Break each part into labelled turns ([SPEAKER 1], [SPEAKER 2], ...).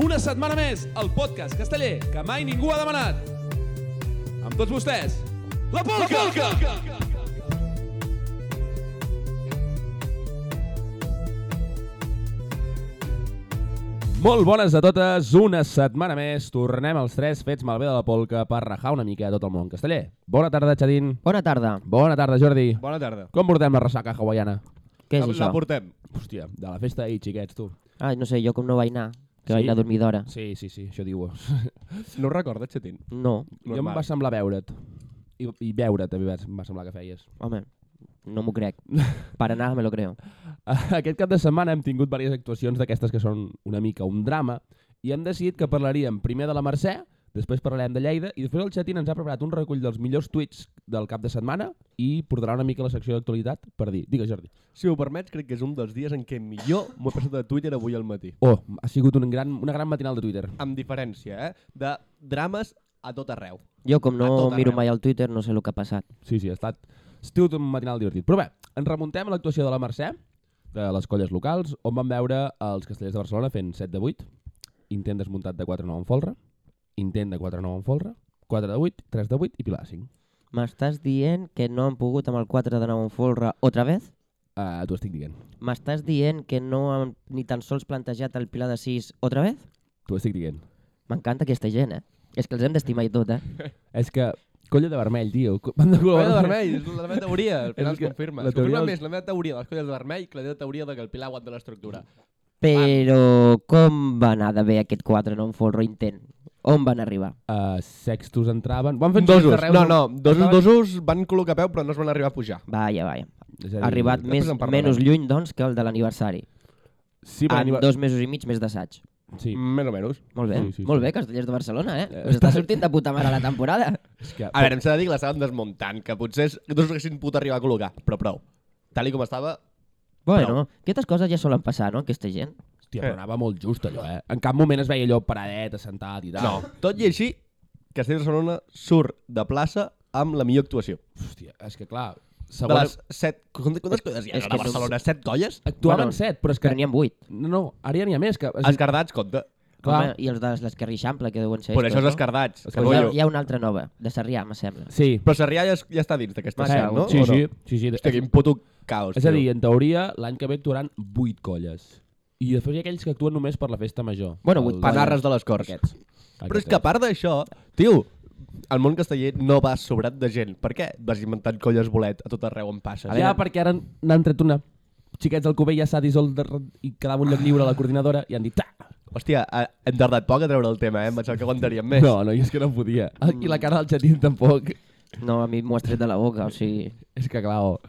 [SPEAKER 1] Una setmana més, el podcast casteller que mai ningú ha demanat. Amb tots vostès, la Polca! La Polca! Molt bones a totes, una setmana més. Tornem als tres fets malbé de la polca per rajar una mica a tot el món casteller. Bona tarda, Xadín.
[SPEAKER 2] Bona tarda.
[SPEAKER 1] Bona tarda, Jordi.
[SPEAKER 3] Bona tarda.
[SPEAKER 1] Com portem la ressaca hawaiana?
[SPEAKER 2] Què és
[SPEAKER 3] la,
[SPEAKER 2] això?
[SPEAKER 3] La portem.
[SPEAKER 1] Hòstia, de la festa i xiquets, tu.
[SPEAKER 2] Ai, no sé, jo com no vaig anar, que
[SPEAKER 1] Sí?
[SPEAKER 2] vaig anar a dormir d'hora.
[SPEAKER 1] Sí, sí, sí, això diu.
[SPEAKER 3] No ho recordes, Xetín?
[SPEAKER 2] No,
[SPEAKER 1] Jo em va semblar veure't. I, i veure també em va semblar que feies.
[SPEAKER 2] home, no m'ho crec. Per anar me lo creo.
[SPEAKER 1] Aquest cap de setmana hem tingut diverses actuacions d'aquestes que són una mica un drama i hem decidit que parlaríem primer de la Mercè, després parlarem de Lleida i després el Xatín ens ha preparat un recull dels millors tuits del cap de setmana i portarà una mica la secció d'actualitat per dir. Digues, Jordi.
[SPEAKER 3] Si ho permets, crec que és un dels dies en què millor m'ho he passat a Twitter avui al matí.
[SPEAKER 1] Oh, ha sigut un gran, una gran matinal de Twitter.
[SPEAKER 3] Amb diferència, eh? De drames a tot arreu.
[SPEAKER 2] Jo com
[SPEAKER 3] A
[SPEAKER 2] no
[SPEAKER 3] tot
[SPEAKER 2] miro
[SPEAKER 3] arreu.
[SPEAKER 2] mai al Twitter no sé el que ha passat.
[SPEAKER 1] Sí, sí, ha estat estiu un matinal divertit. Però bé, ens remuntem a l'actuació de la Mercè, de les colles locals, on vam veure els castellers de Barcelona fent 7 de 8, intent desmuntat de 4 a 9 en folre, intent de 4 a 9 en folre, 4 de 8, 3 de 8 i pilar de 5.
[SPEAKER 2] M'estàs dient que no han pogut amb el 4 de 9 en folre otra vez?
[SPEAKER 1] Uh, T'ho estic dient.
[SPEAKER 2] M'estàs dient que no han ni tan sols plantejat el Pilar de 6 otra vez?
[SPEAKER 1] T'ho estic dient.
[SPEAKER 2] M'encanta aquesta gent, eh? És que els hem d'estimar i tot, eh?
[SPEAKER 1] És que colla de vermell, tio. Co- Van de color
[SPEAKER 3] Collar de vermell, Oh. és la meva teoria, al final
[SPEAKER 1] És
[SPEAKER 3] es
[SPEAKER 1] que
[SPEAKER 3] confirma.
[SPEAKER 1] la
[SPEAKER 3] Es confirma
[SPEAKER 1] teoria dels-
[SPEAKER 3] més la meva teoria de les colles de vermell que la teva teoria de que el Pilar aguanta l'estructura.
[SPEAKER 2] Però com va anar de bé aquest 4 no en folre intent? On van arribar?
[SPEAKER 1] Uh, sextos entraven... Van fer
[SPEAKER 3] Dosos,
[SPEAKER 1] carreus-
[SPEAKER 3] no, no, dosos,
[SPEAKER 1] Estaven-
[SPEAKER 3] dosos van col·locar peu però no es van arribar a pujar.
[SPEAKER 2] Vaja, vaja.
[SPEAKER 1] És a dir,
[SPEAKER 2] Ha arribat
[SPEAKER 3] Eh, després
[SPEAKER 2] més,
[SPEAKER 3] en parlarem.
[SPEAKER 2] menys lluny, doncs, que el de l'aniversari.
[SPEAKER 1] Sí, per
[SPEAKER 2] En
[SPEAKER 1] aniver-
[SPEAKER 2] dos mesos i mig més d'assaig.
[SPEAKER 1] Sí,
[SPEAKER 3] Més o menys.
[SPEAKER 2] Molt bé,
[SPEAKER 1] Sí,
[SPEAKER 2] sí,
[SPEAKER 1] sí,
[SPEAKER 2] sí, molt
[SPEAKER 1] sí.
[SPEAKER 2] bé, Castellers de Barcelona, eh? Us està sortint de puta mare la temporada.
[SPEAKER 1] és que...
[SPEAKER 3] A veure, em s'ha de dir que l'estaven desmuntant, que potser és... no s'haguessin pogut arribar a col·locar, però prou. Tal i com estava,
[SPEAKER 2] Bueno, aquestes coses ja solen passar, no?, aquesta gent.
[SPEAKER 3] eh.
[SPEAKER 1] Hòstia, però anava molt just allò, eh? En cap moment es veia allò paradet, assentat i tal.
[SPEAKER 3] No, tot i així, Castell de Barcelona surt de plaça amb la millor actuació.
[SPEAKER 1] Hòstia, és que clar,
[SPEAKER 3] De
[SPEAKER 1] segona...
[SPEAKER 3] les set... Quantes, quantes colles hi ha
[SPEAKER 2] és
[SPEAKER 3] a
[SPEAKER 2] que no-
[SPEAKER 3] Barcelona? Set colles?
[SPEAKER 1] Actuaven
[SPEAKER 2] Bueno,
[SPEAKER 1] set, però és que...
[SPEAKER 2] Que n'hi ha vuit.
[SPEAKER 1] No, no, ara ja n'hi ha més. Que... Es...
[SPEAKER 3] Escardats, compte.
[SPEAKER 1] Clar.
[SPEAKER 2] Home, I els de l'Esquerra Ixample, que deuen ser...
[SPEAKER 3] Però això és
[SPEAKER 2] estos,
[SPEAKER 3] escardats,
[SPEAKER 1] Escardats.
[SPEAKER 2] no? Hi ha,
[SPEAKER 3] canollo.
[SPEAKER 2] hi ha una altra nova, de Sarrià, me sembla.
[SPEAKER 1] Sí.
[SPEAKER 3] Però Sarrià ja, es- ja està dins d'aquesta
[SPEAKER 2] Massa,
[SPEAKER 3] set, no?
[SPEAKER 1] Sí,
[SPEAKER 3] O no?
[SPEAKER 1] sí, sí, sí.
[SPEAKER 3] Hòstia, quin puto caos,
[SPEAKER 1] És a dir, en teoria, l'any que ve actuaran vuit colles. I després hi ha aquells que actuen només per la festa major.
[SPEAKER 2] Bueno, vuit
[SPEAKER 3] Panarres de les Corts.
[SPEAKER 1] Aquests.
[SPEAKER 3] Però és que a part d'això, tio, el món casteller no va sobrat de gent. Per què vas inventant colles bolet a tot arreu on passes?
[SPEAKER 1] Ja, veure... perquè ara n'han tret una. Xiquets del Cubell ja s'ha dissolt de... i quedava un lloc lliure a la coordinadora i han dit... "Ta!"
[SPEAKER 3] Hòstia, eh, hem tardat poc a treure el tema, eh? Em pensava que aguantaríem més.
[SPEAKER 1] No, no, i és que no podia.
[SPEAKER 3] Mm.
[SPEAKER 1] I la cara del xatín tampoc.
[SPEAKER 2] No, a mi m'ho has tret de la boca, o sigui...
[SPEAKER 1] És que clar, oh.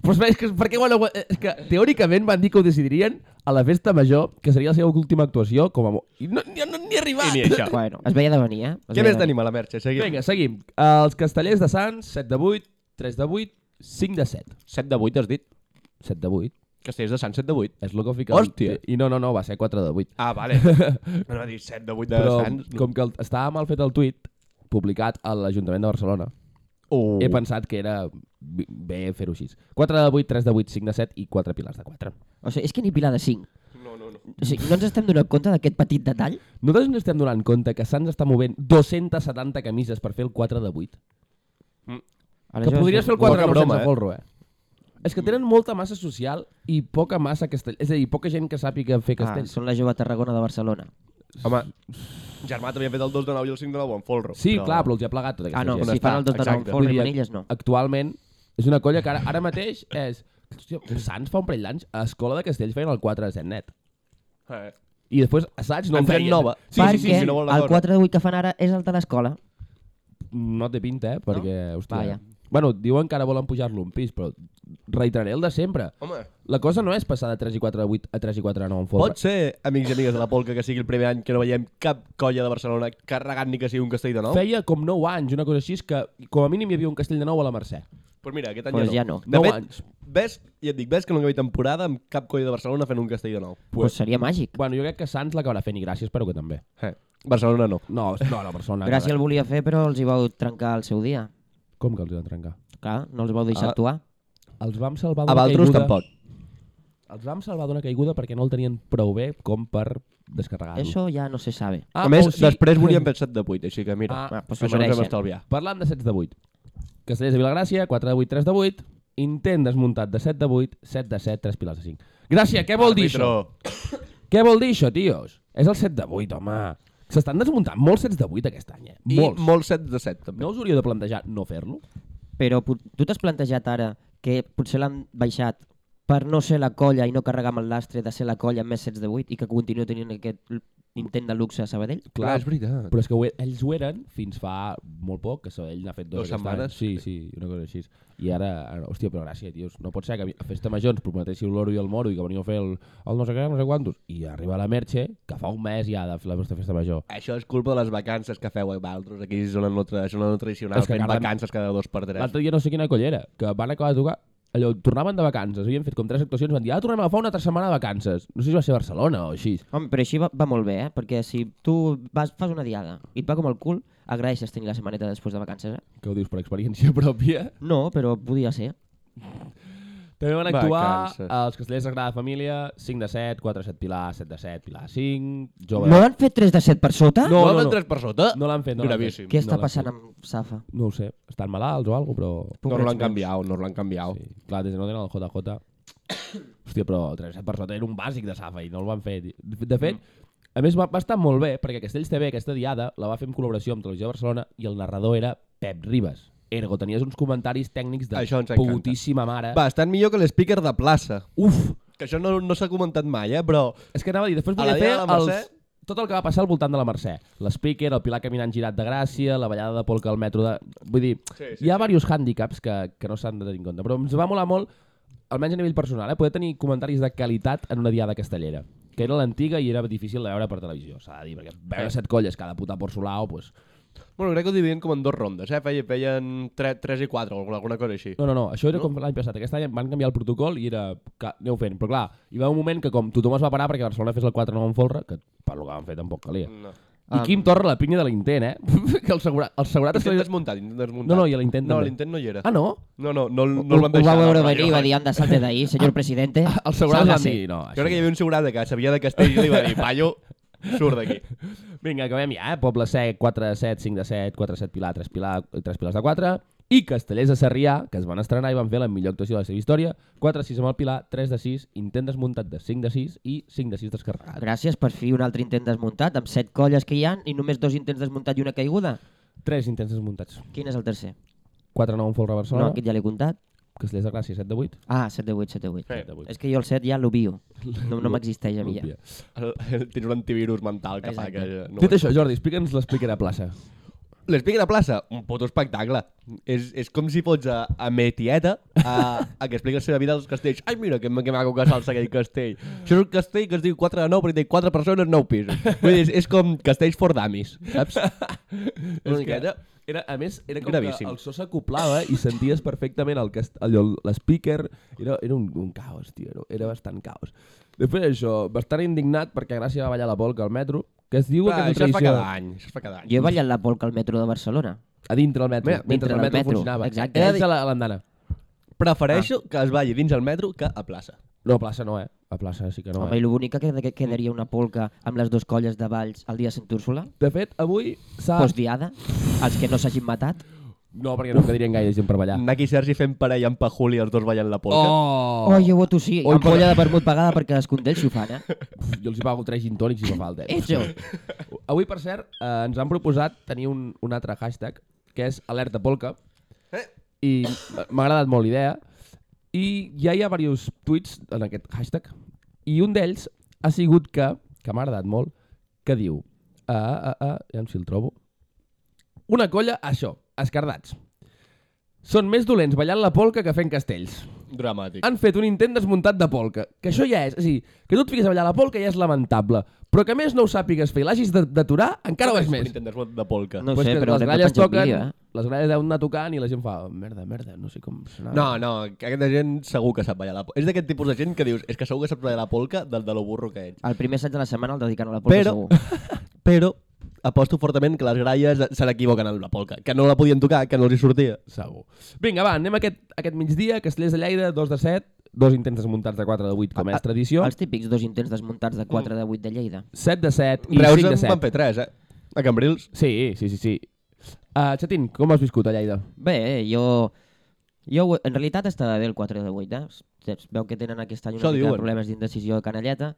[SPEAKER 1] Però és que, per què ho han aguant- És que teòricament van dir que ho decidirien a la festa major, que seria la seva última actuació, com a... mo- I no, no, no n'hi ha
[SPEAKER 3] I
[SPEAKER 1] arribat!
[SPEAKER 3] ni això.
[SPEAKER 2] Bueno, es veia de venir, eh? Es
[SPEAKER 3] Ah. Què
[SPEAKER 2] veia de venir.
[SPEAKER 3] més tenim a la merxa? Seguim.
[SPEAKER 1] Vinga, seguim. Els castellers de Sants, 7 de 8, 3 de 8, 5 de 7.
[SPEAKER 3] 7 de 8 has dit?
[SPEAKER 1] 7 de 8.
[SPEAKER 3] Castells de Sant, 7 de 8.
[SPEAKER 1] És lo que ho fica...
[SPEAKER 3] Hòstia.
[SPEAKER 1] I no, no, no, va ser 4 de 8.
[SPEAKER 3] Ah, vale. no va dir 7 de 8 de
[SPEAKER 1] Però
[SPEAKER 3] Sants.
[SPEAKER 1] com que el, estava mal fet el tuit, publicat a l'Ajuntament de Barcelona,
[SPEAKER 3] Uh.
[SPEAKER 1] he pensat que era bi- bé fer-ho així. 4 de 8, 3 de 8, 5 de 7 i 4 pilars de 4.
[SPEAKER 2] O sigui, és que ni Pilar de 5.
[SPEAKER 3] No, no, no.
[SPEAKER 2] O sigui, no ens estem donant compte d'aquest petit detall?
[SPEAKER 1] Nosaltres ens estem donant compte que Sants està movent 270 camises per fer el 4 de 8.
[SPEAKER 2] Ara
[SPEAKER 1] Que
[SPEAKER 2] jo-
[SPEAKER 1] podries fer el 4
[SPEAKER 3] Poca
[SPEAKER 1] de 8
[SPEAKER 3] broma,
[SPEAKER 1] sense
[SPEAKER 3] eh?
[SPEAKER 1] folro, eh? És que tenen molta massa social i poca massa castell... És a dir, poca gent que sàpiga fer
[SPEAKER 2] Ah,
[SPEAKER 1] castells.
[SPEAKER 2] són la jove Tarragona de Barcelona.
[SPEAKER 3] Home, germà també ha fet el 2 de 9 i el 5 de 9 en folro.
[SPEAKER 1] sí, però... clar, però els hi ha plegat tota aquesta
[SPEAKER 2] Ah, no,
[SPEAKER 1] gent.
[SPEAKER 3] on
[SPEAKER 2] si
[SPEAKER 3] està?
[SPEAKER 2] fan el 2 de 9 en
[SPEAKER 3] Exacte.
[SPEAKER 2] folre
[SPEAKER 1] Vull
[SPEAKER 2] i
[SPEAKER 1] dir,
[SPEAKER 2] manilles, no.
[SPEAKER 1] Actualment és una colla que ara, ara mateix és... Hòstia, Sants fa un parell d'anys a Escola de Castells feien el 4 de 7 net.
[SPEAKER 3] Eh.
[SPEAKER 1] I després assaig no
[SPEAKER 3] En
[SPEAKER 1] en
[SPEAKER 3] feien
[SPEAKER 1] feien.
[SPEAKER 3] nova.
[SPEAKER 1] Sí, sí, sí,
[SPEAKER 2] perquè
[SPEAKER 1] sí,
[SPEAKER 3] no
[SPEAKER 1] no,
[SPEAKER 3] vol la
[SPEAKER 2] el
[SPEAKER 3] cosa.
[SPEAKER 2] 4 de 8 que fan ara és el de l'escola.
[SPEAKER 1] no té pinta, eh? Perquè, no? hòstia...
[SPEAKER 2] Vaja.
[SPEAKER 1] Bueno, diuen que ara volen pujar-lo un pis, però reiteraré el de sempre.
[SPEAKER 3] Home,
[SPEAKER 1] La cosa no és passar de 3 i 4 a 8 a 3 i 4 a 9 en folre.
[SPEAKER 3] pot ser, amics i amigues de la polca, que sigui el primer any que no veiem cap colla de Barcelona carregant ni que sigui un castell de nou?
[SPEAKER 1] Feia com 9 anys, una cosa així, és que com a mínim hi havia un castell de nou a la Mercè.
[SPEAKER 3] Pues mira, aquest any
[SPEAKER 2] Pues ja no.
[SPEAKER 3] De
[SPEAKER 1] Nou
[SPEAKER 3] fet,
[SPEAKER 1] anys.
[SPEAKER 3] ves, ja et dic, ves que no hi havia temporada amb cap colla de Barcelona fent un castell de nou.
[SPEAKER 2] Pues seria màgic.
[SPEAKER 1] Bueno, jo crec que Sants l'acabarà fent i gràcies, espero que també.
[SPEAKER 3] Eh. Barcelona no.
[SPEAKER 1] No, no, la persona...
[SPEAKER 2] Gràcia el volia fer, però els hi vau trencar el seu dia.
[SPEAKER 1] Com que els hi van trencar?
[SPEAKER 2] Clar, no els vau deixar
[SPEAKER 3] Ah.
[SPEAKER 2] actuar.
[SPEAKER 1] Els vam salvar
[SPEAKER 3] A
[SPEAKER 1] d'una
[SPEAKER 3] Valtros
[SPEAKER 1] caiguda.
[SPEAKER 3] tampoc.
[SPEAKER 1] els vam salvar d'una caiguda perquè no el tenien prou bé com per descarregar-lo.
[SPEAKER 2] Eso ya no se sabe.
[SPEAKER 1] Ah,
[SPEAKER 3] a més,
[SPEAKER 1] o
[SPEAKER 3] sí. després volíem fer 7 de 8, així que mira,
[SPEAKER 1] Ah,
[SPEAKER 3] ah,
[SPEAKER 2] pues
[SPEAKER 3] pues això ens
[SPEAKER 2] prefereixen.
[SPEAKER 3] hem estalviat.
[SPEAKER 1] Parlant de 7 de 8. Castellers de Vilagràcia, 4 de 8, 3 de 8. Intent desmuntat de 7 de 8, 7 de 7, 3 pilars de 5. Gràcia, què vol dir això? Què vol dir això, tios? És el 7 de 8, home. S'estan desmuntant molts 7 de 8 aquest any, eh?
[SPEAKER 3] I
[SPEAKER 1] Molts.
[SPEAKER 3] molts. molts 7 de 7, també.
[SPEAKER 1] No us hauríeu de plantejar no fer-lo?
[SPEAKER 2] Però pot- tu t'has plantejat ara que potser l'han baixat per no ser la colla i no carregar amb el lastre de ser la colla amb més sets de 8 i que continua tenint aquest l- intent de luxe a Sabadell?
[SPEAKER 1] Clar,
[SPEAKER 3] és veritat.
[SPEAKER 1] Però és que ho, e- ells ho eren fins fa molt poc, que Sabadell n'ha fet dos,
[SPEAKER 3] Dos
[SPEAKER 1] aquest
[SPEAKER 3] setmanes.
[SPEAKER 1] Any. Sí, sí, una cosa així. I ara, ara hòstia, però gràcia, tios, no pot ser que a Festa Major ens prometéssiu l'oro i el moro i que veníeu a fer el, el no sé què, no sé quantos, i arriba la Merche, que fa un mes ja de fer la vostra Festa Major.
[SPEAKER 3] Això és culpa de les vacances que feu a Valtros. Aquí és una no, tra és una no tradicional,
[SPEAKER 1] És que
[SPEAKER 3] fent
[SPEAKER 1] cada-
[SPEAKER 3] vacances cada dos per tres.
[SPEAKER 1] L'altre dia no sé quina collera, que van acabar de tocar, allò, tornaven de vacances, havien fet com tres actuacions, van dir, ah, tornem a agafar una altra setmana de vacances. No sé si va ser a Barcelona o així.
[SPEAKER 2] Home, però així va, va molt bé, eh? Perquè si tu vas, fas una diada i et va com el cul, agraeixes tenir la setmaneta després de vacances, eh?
[SPEAKER 1] Que ho dius per experiència pròpia.
[SPEAKER 2] No, però podia ser.
[SPEAKER 1] També van actuar
[SPEAKER 3] Vacances.
[SPEAKER 1] els Castellers de Sagrada Família, 5 de 7, 4 de 7 Pilar, 7 de 7 Pilar 5, jove...
[SPEAKER 2] No han fet 3 de 7 per sota?
[SPEAKER 1] No, no,
[SPEAKER 3] van
[SPEAKER 1] no.
[SPEAKER 3] tres per sota?
[SPEAKER 1] No l'han fet, no l'han
[SPEAKER 3] Gravíssim.
[SPEAKER 2] Què està
[SPEAKER 1] no l'han
[SPEAKER 2] passant amb Safa?
[SPEAKER 1] No ho sé, estan malalts o alguna però...
[SPEAKER 3] No, no
[SPEAKER 2] Pobrets
[SPEAKER 3] l'han
[SPEAKER 2] meus.
[SPEAKER 3] canviat, no l'han canviat.
[SPEAKER 1] Sí. Clar, des de no tenen el JJ... Hòstia, però 37 per sota era un bàsic de Safa i no el van fer. De de fet,
[SPEAKER 3] Mm.
[SPEAKER 1] a més va, va estar molt bé, perquè Castells TV, aquesta diada, la va fer en col·laboració amb Televisió de Barcelona i el narrador era Pep Ribas. Ergo, tenies uns comentaris tècnics de
[SPEAKER 3] Això ens encanta.
[SPEAKER 1] putíssima mare.
[SPEAKER 3] Va, estan millor que l'speaker de plaça.
[SPEAKER 1] Uf!
[SPEAKER 3] Que això no, no s'ha comentat mai, eh? Però
[SPEAKER 1] És que anava a dir, després
[SPEAKER 3] A la
[SPEAKER 1] volia fer
[SPEAKER 3] Diada de la
[SPEAKER 1] els,
[SPEAKER 3] Mercè?
[SPEAKER 1] tot el que va passar al voltant de la Mercè. L'speaker, el Pilar caminant girat de gràcia, la ballada de polca al metro de... Vull dir, sí, sí, hi ha sí. diversos hàndicaps que, que no s'han de tenir en compte. Però ens va molar molt, almenys a nivell personal, eh, poder tenir comentaris de qualitat en una diada castellera que era l'antiga i era difícil de veure per televisió, s'ha de dir, perquè veure set colles cada puta por solau, pues...
[SPEAKER 3] Bueno, crec que ho dividien com en dues rondes, eh? Feien, feien 3, 3 i 4 o alguna cosa així.
[SPEAKER 1] No, no, no, això era no? com l'any passat. Aquest any van canviar el protocol i era... Que aneu fent. Però clar, hi va un moment que com tothom es va parar perquè Barcelona fes el 4-9 en folre, que per lo que van fer tampoc calia.
[SPEAKER 3] No.
[SPEAKER 1] I
[SPEAKER 2] Ah.
[SPEAKER 1] Quim torna a la pinya de l'intent, eh? que el, segura, el segurat es...
[SPEAKER 3] Intent desmuntat, intent desmuntat.
[SPEAKER 1] No, no, i a l'intent
[SPEAKER 3] No,
[SPEAKER 1] també.
[SPEAKER 3] l'intent no hi era.
[SPEAKER 1] Ah, no?
[SPEAKER 3] No, no, no, no,
[SPEAKER 2] Ho-
[SPEAKER 3] el van deixar.
[SPEAKER 2] Ho va veure
[SPEAKER 3] no,
[SPEAKER 2] venir i va
[SPEAKER 3] no.
[SPEAKER 2] dir, anda, salte d'ahí, senyor presidente.
[SPEAKER 1] eh? El segurat va
[SPEAKER 2] Sálgase.
[SPEAKER 1] dir... No,
[SPEAKER 3] Jo
[SPEAKER 1] això...
[SPEAKER 3] crec que hi havia un segurada que sabia de castell i li va dir, paio, surt d'aquí.
[SPEAKER 1] Vinga, acabem ja, eh? Poble sec, 4 de 7, 5 de 7, 4 de 7, Pilar, 3, Pilar, 3 pilars de 4. I Castellers de Sarrià, que es van estrenar i van fer la millor actuació de la seva història. 4 de 6 amb el Pilar, 3 de 6, intent desmuntat de 5 de 6 i 5 de 6 descarregat.
[SPEAKER 2] Gràcies, per fi un altre intent desmuntat, amb set colles que hi han i només dos intents desmuntat i una caiguda.
[SPEAKER 1] 3 intents desmuntats.
[SPEAKER 2] Quin és el tercer?
[SPEAKER 1] 4 9 en folre a
[SPEAKER 2] No,
[SPEAKER 1] Barcelona.
[SPEAKER 2] aquest ja l'he comptat.
[SPEAKER 1] Castellers de Gràcia, 7 de 8.
[SPEAKER 2] Ah, 7 de 8, 7 de 8.
[SPEAKER 3] Sí.
[SPEAKER 1] 7 de 8.
[SPEAKER 2] És que jo el 7 ja l'obvio. No, no m'existeix a mi ja.
[SPEAKER 1] L'obvia.
[SPEAKER 3] El- el- Tens un antivirus mental que
[SPEAKER 2] Exacte.
[SPEAKER 3] fa que... No.
[SPEAKER 1] Dit això, Jordi, explica'ns l'explicarà a plaça.
[SPEAKER 3] L'Espeak de plaça, un puto espectacle. És, és com si fots a, a me tieta a, a que explica la seva vida als castells. Ai, mira, que, ma- que maco que salsa aquell castell. Això és un castell que es diu 4 de 9, perquè té 4 persones, 9 pisos. Vull dir, és, és com castells for dummies, saps? Una
[SPEAKER 1] És que
[SPEAKER 3] miqueta.
[SPEAKER 1] era, era, a més, era com
[SPEAKER 3] Gravíssim.
[SPEAKER 1] que el so s'acoplava i senties perfectament el cast- allò, l'espeaker. Era, era un, un caos, tio, era, era bastant caos. Després d'això, bastant indignat perquè Gràcia va ballar la polca al metro, que es diu
[SPEAKER 3] Clar,
[SPEAKER 1] que és
[SPEAKER 3] això es fa
[SPEAKER 1] tradició
[SPEAKER 3] cada any, això es fa cada any.
[SPEAKER 2] Jo he ballat la polca al metro de Barcelona.
[SPEAKER 1] a dintre del metro,
[SPEAKER 3] Mira,
[SPEAKER 1] mentre el
[SPEAKER 2] dintre del
[SPEAKER 1] metro,
[SPEAKER 2] metro,
[SPEAKER 1] funcionava.
[SPEAKER 2] exacte.
[SPEAKER 1] Era dins de la- a l'andana.
[SPEAKER 3] Prefereixo que es balli dins el metro que a plaça.
[SPEAKER 1] No, a plaça no, eh? A plaça sí que no,
[SPEAKER 2] Home, i
[SPEAKER 1] eh?
[SPEAKER 2] lo bonica que que quedaria una polca amb les dues colles de valls el dia de Sant Úrsula,
[SPEAKER 1] De fet, avui s'ha...
[SPEAKER 2] postdiada, els que no s'hagin matat.
[SPEAKER 1] No, perquè no quedarien gaire gent per ballar.
[SPEAKER 3] Naki i Sergi fent parella amb Pajuli i els dos ballant la polca.
[SPEAKER 1] Oh!
[SPEAKER 2] Oh, jo voto sí,
[SPEAKER 1] Oi,
[SPEAKER 2] ampolla de vermut pagada perquè cadascun d'ells si ho fan, eh?
[SPEAKER 1] Pff, Jo els hi pago tres gin tònics si fa falta. eh?
[SPEAKER 2] Eso.
[SPEAKER 1] Avui, per cert, eh, ens han proposat tenir un, un altre hashtag, que és Alerta Polca, i m'ha m'ha agradat molt la idea, i ja hi ha diversos tuits en aquest hashtag, i un d'ells ha sigut que, que m'ha agradat molt, que diu, ah, ah, ah, ja si el trobo, una colla, això, escardats. Són més dolents ballant la polca que fent castells
[SPEAKER 3] Oh, Dramàtic.
[SPEAKER 1] han fet un intent desmuntat de polca. Que això ja és, és a dir, que tu et fiques a ballar la polca ja és lamentable, però que a més no ho sàpigues fer i l'hagis de- d'aturar encara ho és
[SPEAKER 3] Un
[SPEAKER 1] més.
[SPEAKER 3] intent desmont de polca.
[SPEAKER 2] No ho
[SPEAKER 1] Pues
[SPEAKER 2] sé,
[SPEAKER 1] que
[SPEAKER 2] però
[SPEAKER 1] les
[SPEAKER 2] haurem de
[SPEAKER 1] gralles
[SPEAKER 2] penjar un
[SPEAKER 1] toquen,
[SPEAKER 2] vídeo, eh?
[SPEAKER 1] les gralles deuen anar tocant i la gent fa "Oh, merda, merda, no sé com sonava.
[SPEAKER 3] No, no, aquesta gent segur que sap ballar la polca. És d'aquest tipus de gent que dius, és que segur que sap ballar la polca del de lo burro que ets.
[SPEAKER 2] El primer set de la setmana el dediquen a la polca,
[SPEAKER 3] Però,
[SPEAKER 2] segur.
[SPEAKER 3] però, aposto fortament que les gralles se n'equivoquen en la polca, que no la podien tocar, que no els hi sortia.
[SPEAKER 1] Segur. Vinga, va, anem aquest, aquest migdia, Castellers de Lleida, 2 de 7, dos intents desmuntats de 4 de 8, com
[SPEAKER 2] Ah,
[SPEAKER 1] és tradició,
[SPEAKER 2] Els típics dos intents desmuntats de
[SPEAKER 1] Mm.
[SPEAKER 2] 4 de 8 de Lleida.
[SPEAKER 1] 7 de 7 i
[SPEAKER 3] Reus
[SPEAKER 1] 5
[SPEAKER 3] en
[SPEAKER 1] de 7.
[SPEAKER 3] van fer 3, eh? A Cambrils.
[SPEAKER 1] Sí, sí, sí, sí. Uh, Chatín, com has viscut a Lleida?
[SPEAKER 2] Bé, eh, jo... Jo, ho- en realitat, estava bé el 4 de 8, eh? Es- Es veu que tenen aquest any una mica
[SPEAKER 3] Això
[SPEAKER 2] de
[SPEAKER 3] diuen.
[SPEAKER 2] problemes d'indecisió a Canelleta,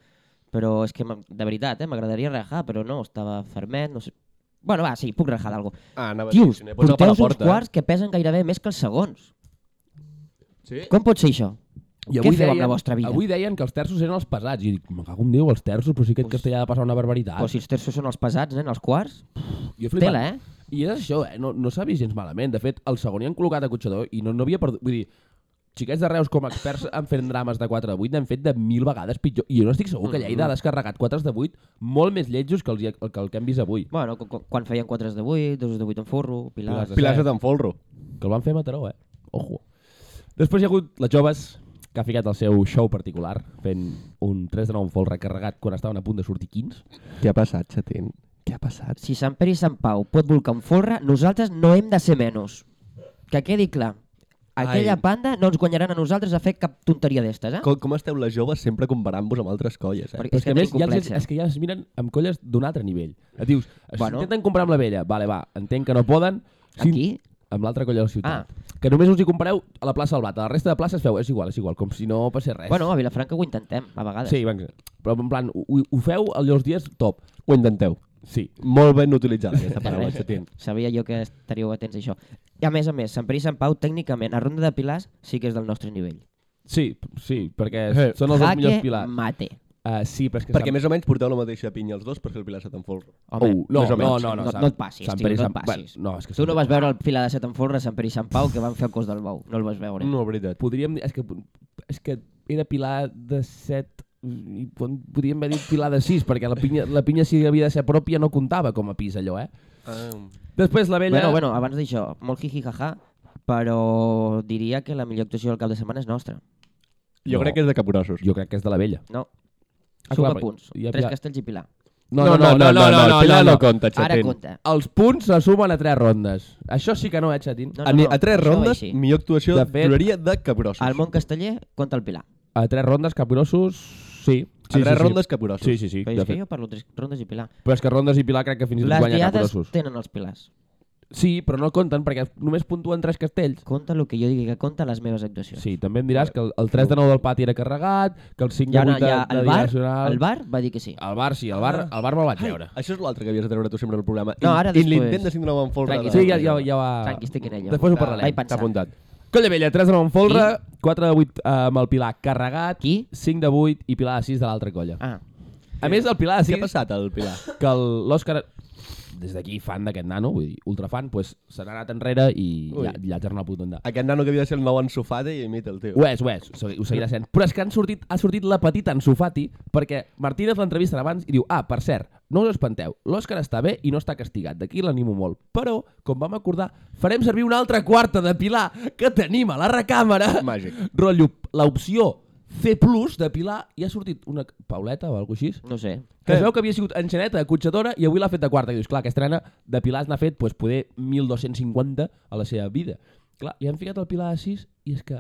[SPEAKER 2] però és que, m'ha- de veritat, eh? M'agradaria rajar, però no, estava fermet, no sé... Bueno, va, sí, puc rajar d'algo.
[SPEAKER 3] Ah, anava
[SPEAKER 2] Tios,
[SPEAKER 3] si n'he posat
[SPEAKER 2] porteu
[SPEAKER 3] per la
[SPEAKER 2] uns
[SPEAKER 3] porta, eh?
[SPEAKER 2] quarts que pesen gairebé més que els segons.
[SPEAKER 3] Sí?
[SPEAKER 2] Com pot ser això?
[SPEAKER 1] I
[SPEAKER 2] Què feu amb la vostra vida?
[SPEAKER 1] Avui deien que els terços eren els pesats. I dic, me cago en Déu, els terços, però sí que aquest castellà ha de passar una barbaritat.
[SPEAKER 2] Però si els terços són els pesats, nen, els quarts,
[SPEAKER 1] jo flipant.
[SPEAKER 2] tela, eh?
[SPEAKER 1] I és això, eh? No, no s'ha vist gens malament. De fet, el segon hi han col·locat a Cotxador i no, no havia perdut... Vull dir, xiquets de Reus com a experts en fent drames de 4 a 8 n'han fet de mil vegades pitjor. I jo no estic segur que Lleida ha descarregat 4 de 8 molt més lletjos que, els, hi- que el que hem vist avui.
[SPEAKER 2] Bueno, cu- cu- quan feien 4 de 8, 2 de 8 en forro, pilars...
[SPEAKER 1] Pilars
[SPEAKER 3] Pilars de Tanfolro.
[SPEAKER 1] Que el van fer a Mataró, eh? Ojo. Després hi ha hagut les joves, que ha ficat el seu show particular, fent un 3 de 9 en fol recarregat quan estaven a punt de sortir 15.
[SPEAKER 3] Què ha passat, Chatín? Què ha passat?
[SPEAKER 2] Si Sant Pere i Sant Pau pot volcar un forra, nosaltres no hem de ser menys. Que quedi clar. Aquella
[SPEAKER 1] Ai.
[SPEAKER 2] Ai. panda no ens guanyaran a nosaltres a fer cap tonteria d'estes, eh?
[SPEAKER 3] Com, com esteu les joves sempre comparant-vos amb altres colles, eh?
[SPEAKER 2] Perquè
[SPEAKER 1] Però
[SPEAKER 2] és que, més,
[SPEAKER 1] ja els,
[SPEAKER 2] complexa.
[SPEAKER 1] és que ja es miren amb colles d'un altre nivell. Et dius, bueno.
[SPEAKER 2] Bueno.
[SPEAKER 1] intenten comprar amb la vella, vale, va, entenc que no poden.
[SPEAKER 2] Aquí?
[SPEAKER 1] Amb l'altra colla de la ciutat. Ah. Que només us hi compareu a la plaça del Blat, a la resta de places feu, és igual, és igual, com si no passés res.
[SPEAKER 2] Bueno, a Vilafranca ho intentem, a vegades.
[SPEAKER 1] sí, van, però en plan, ho, ho feu els dies top.
[SPEAKER 3] Ho intenteu.
[SPEAKER 1] Sí.
[SPEAKER 3] Molt ben utilitzada aquesta paraula,
[SPEAKER 2] Res.
[SPEAKER 3] Chatín.
[SPEAKER 2] Sabia jo que estaríeu atents a això. I a més a més, Sant Pere i Sant Pau, tècnicament, a Ronda de Pilars sí que és del nostre nivell.
[SPEAKER 1] Sí, sí, perquè
[SPEAKER 3] Eh.
[SPEAKER 1] són els dos
[SPEAKER 2] Jaque
[SPEAKER 1] millors pilars.
[SPEAKER 2] mate.
[SPEAKER 1] Uh, sí, però és que
[SPEAKER 3] Perquè més o menys porteu la mateixa pinya els dos perquè el Pilar se t'enfolra.
[SPEAKER 2] Home,
[SPEAKER 1] Oh, no,
[SPEAKER 3] més
[SPEAKER 1] no,
[SPEAKER 3] o menys.
[SPEAKER 1] no, no,
[SPEAKER 2] No-
[SPEAKER 1] Sant-
[SPEAKER 2] no et passis,
[SPEAKER 1] Sant
[SPEAKER 2] tio,
[SPEAKER 1] Pere i
[SPEAKER 2] no et
[SPEAKER 1] Sant-
[SPEAKER 2] passis.
[SPEAKER 1] Bueno, no, és que
[SPEAKER 2] tu no vas veure el Pilar de Setanforra, Sant Pere i Sant Pau, que van fer el cos del bou. No el vas veure.
[SPEAKER 3] No, veritat.
[SPEAKER 1] Podríem dir... És que, és que era Pilar de 7 i pod- podríem haver dit Pilar de 6 perquè la pinya, la pinya si havia de ser pròpia no comptava com a pis allò, eh?
[SPEAKER 3] Ah.
[SPEAKER 1] Després la vella...
[SPEAKER 2] Bueno, bueno, abans d'això, molt jiji-jaja, però diria que la millor actuació del cap de setmana és nostra.
[SPEAKER 3] Jo
[SPEAKER 1] No.
[SPEAKER 3] crec que és de capurossos.
[SPEAKER 1] Jo crec que és de la vella.
[SPEAKER 2] No.
[SPEAKER 1] Ah,
[SPEAKER 2] Suma
[SPEAKER 1] clar,
[SPEAKER 2] punts.
[SPEAKER 1] ja-
[SPEAKER 2] Tres
[SPEAKER 1] ja-
[SPEAKER 2] castells i Pilar.
[SPEAKER 3] el Pilar no compta,
[SPEAKER 2] Ara
[SPEAKER 3] Chatín.
[SPEAKER 2] compta.
[SPEAKER 1] Els punts se sumen a 3 rondes. Això sí que no, eh, Xatín?
[SPEAKER 2] No,
[SPEAKER 3] a, mi, a
[SPEAKER 2] això
[SPEAKER 3] tres
[SPEAKER 2] va
[SPEAKER 3] rondes,
[SPEAKER 2] així.
[SPEAKER 3] millor actuació,
[SPEAKER 1] De fet-
[SPEAKER 3] juraria de capurossos.
[SPEAKER 2] Al món casteller compta el Pilar.
[SPEAKER 1] A 3 rondes, capgrossos, sí.
[SPEAKER 3] a tres rondes, capurossos.
[SPEAKER 1] Sí, sí, sí.
[SPEAKER 2] Però
[SPEAKER 1] De
[SPEAKER 2] és que
[SPEAKER 1] fet.
[SPEAKER 2] jo parlo tres rondes i Pilar.
[SPEAKER 1] Però és que rondes i Pilar crec que fins i tot
[SPEAKER 2] Les
[SPEAKER 1] guanya
[SPEAKER 2] diades
[SPEAKER 1] capgrossos.
[SPEAKER 2] tenen els Pilars.
[SPEAKER 1] Sí, però no compten perquè només puntuen 3 castells.
[SPEAKER 2] Compta el que jo digui que compta les meves actuacions.
[SPEAKER 1] Sí, també em diràs que el, el 3 de 9 del pati era carregat, que el 5
[SPEAKER 2] I
[SPEAKER 1] de
[SPEAKER 2] ara
[SPEAKER 1] 8 de,
[SPEAKER 2] ja
[SPEAKER 1] de Ah.
[SPEAKER 2] el bar,
[SPEAKER 1] direccional...
[SPEAKER 2] el bar Ah. va dir que sí.
[SPEAKER 1] El bar, sí, el bar, el bar me'l vaig veure.
[SPEAKER 3] Això és l'altre que havies de treure tu sempre al programa.
[SPEAKER 2] No, ara
[SPEAKER 3] I- I
[SPEAKER 2] després.
[SPEAKER 3] l'intent de síndrome en folre.
[SPEAKER 2] Tranqui,
[SPEAKER 1] Sí, ja, ja, ja va...
[SPEAKER 2] Tranqui, estic en ello.
[SPEAKER 1] Després ho
[SPEAKER 2] Vaig
[SPEAKER 1] parlarem.
[SPEAKER 2] pensar.
[SPEAKER 3] apuntat.
[SPEAKER 1] Colla vella, 3 de 9 en folre, 4 de 8 eh, amb el Pilar carregat,
[SPEAKER 2] Qui?
[SPEAKER 1] 5 de 8 i Pilar de 6 de l'altra colla.
[SPEAKER 2] Ah,
[SPEAKER 1] A més, el Pilar
[SPEAKER 3] Què
[SPEAKER 1] de
[SPEAKER 3] ha
[SPEAKER 1] 6,
[SPEAKER 3] passat al Pilar?
[SPEAKER 1] que el- l'Òscar, des d'aquí fan d'aquest nano, vull dir, ultrafan, pues, se n'ha anat enrere i
[SPEAKER 3] Ui.
[SPEAKER 1] ja, ja torna a punt d'endar.
[SPEAKER 3] Aquest nano que havia de ser el nou ensofada i imita el tio.
[SPEAKER 1] Ho és, ho és, ho segui- ho seguirà sent. Però és que han sortit, ha sortit la petita en Sofati perquè Martínez l'entrevista abans i diu ah, per cert, no us espanteu, l'Òscar està bé i no està castigat, d'aquí l'animo molt. Però, com vam acordar, farem servir una altra quarta de Pilar que tenim a la recàmera.
[SPEAKER 3] Màgic.
[SPEAKER 1] Rotllo, l'opció C plus de Pilar i ha sortit una Pauleta o alguna cosa així
[SPEAKER 2] no sé.
[SPEAKER 1] que es veu que havia sigut enxaneta, cotxadora, i avui l'ha fet de quarta. I dius, clar, aquesta nena de Pilars n'ha fet pues, poder 1.250 a la seva vida. Clar, li han ficat el Pilar a 6 i és que...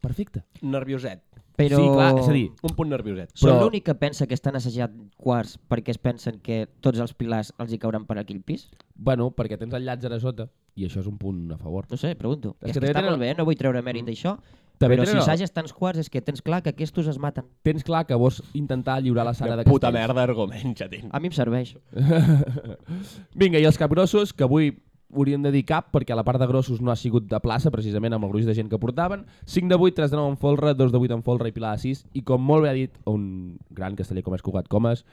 [SPEAKER 1] Perfecte.
[SPEAKER 3] Nervioset.
[SPEAKER 2] Però...
[SPEAKER 1] Sí, clar, és a dir,
[SPEAKER 3] Un punt nervioset.
[SPEAKER 2] Però... Són
[SPEAKER 1] Però-
[SPEAKER 2] l'únic que pensa que estan assajant quarts perquè es pensen que tots els pilars els hi cauran per aquell pis?
[SPEAKER 1] Bueno, perquè tens el Llàtzer a sota i això és un punt a favor.
[SPEAKER 2] No sé, pregunto.
[SPEAKER 1] És
[SPEAKER 2] És,
[SPEAKER 1] que
[SPEAKER 2] que,
[SPEAKER 1] també
[SPEAKER 2] està
[SPEAKER 1] tenen- Mm.
[SPEAKER 2] molt bé, no vull treure mèrit d'això,
[SPEAKER 1] També
[SPEAKER 2] però si
[SPEAKER 1] tenen el-
[SPEAKER 2] assages tants quarts és que tens clar que aquests es maten.
[SPEAKER 1] Tens clar que vols intentar lliurar la Sara
[SPEAKER 3] Quina
[SPEAKER 1] de
[SPEAKER 3] puta
[SPEAKER 1] Castells.
[SPEAKER 3] merda argument,
[SPEAKER 1] Ah,
[SPEAKER 3] Ah, Chatín.
[SPEAKER 2] A mi em serveix.
[SPEAKER 1] Vinga, i els capgrossos, que avui haurien de dir cap, perquè a la part de grossos no ha sigut de plaça, precisament amb el gruix de gent que portaven. 5 de 8, 3 de 9 en folre, 2 de 8 en folre i Pilar de 6. I com molt bé ha dit un gran casteller com és Cugat Comas,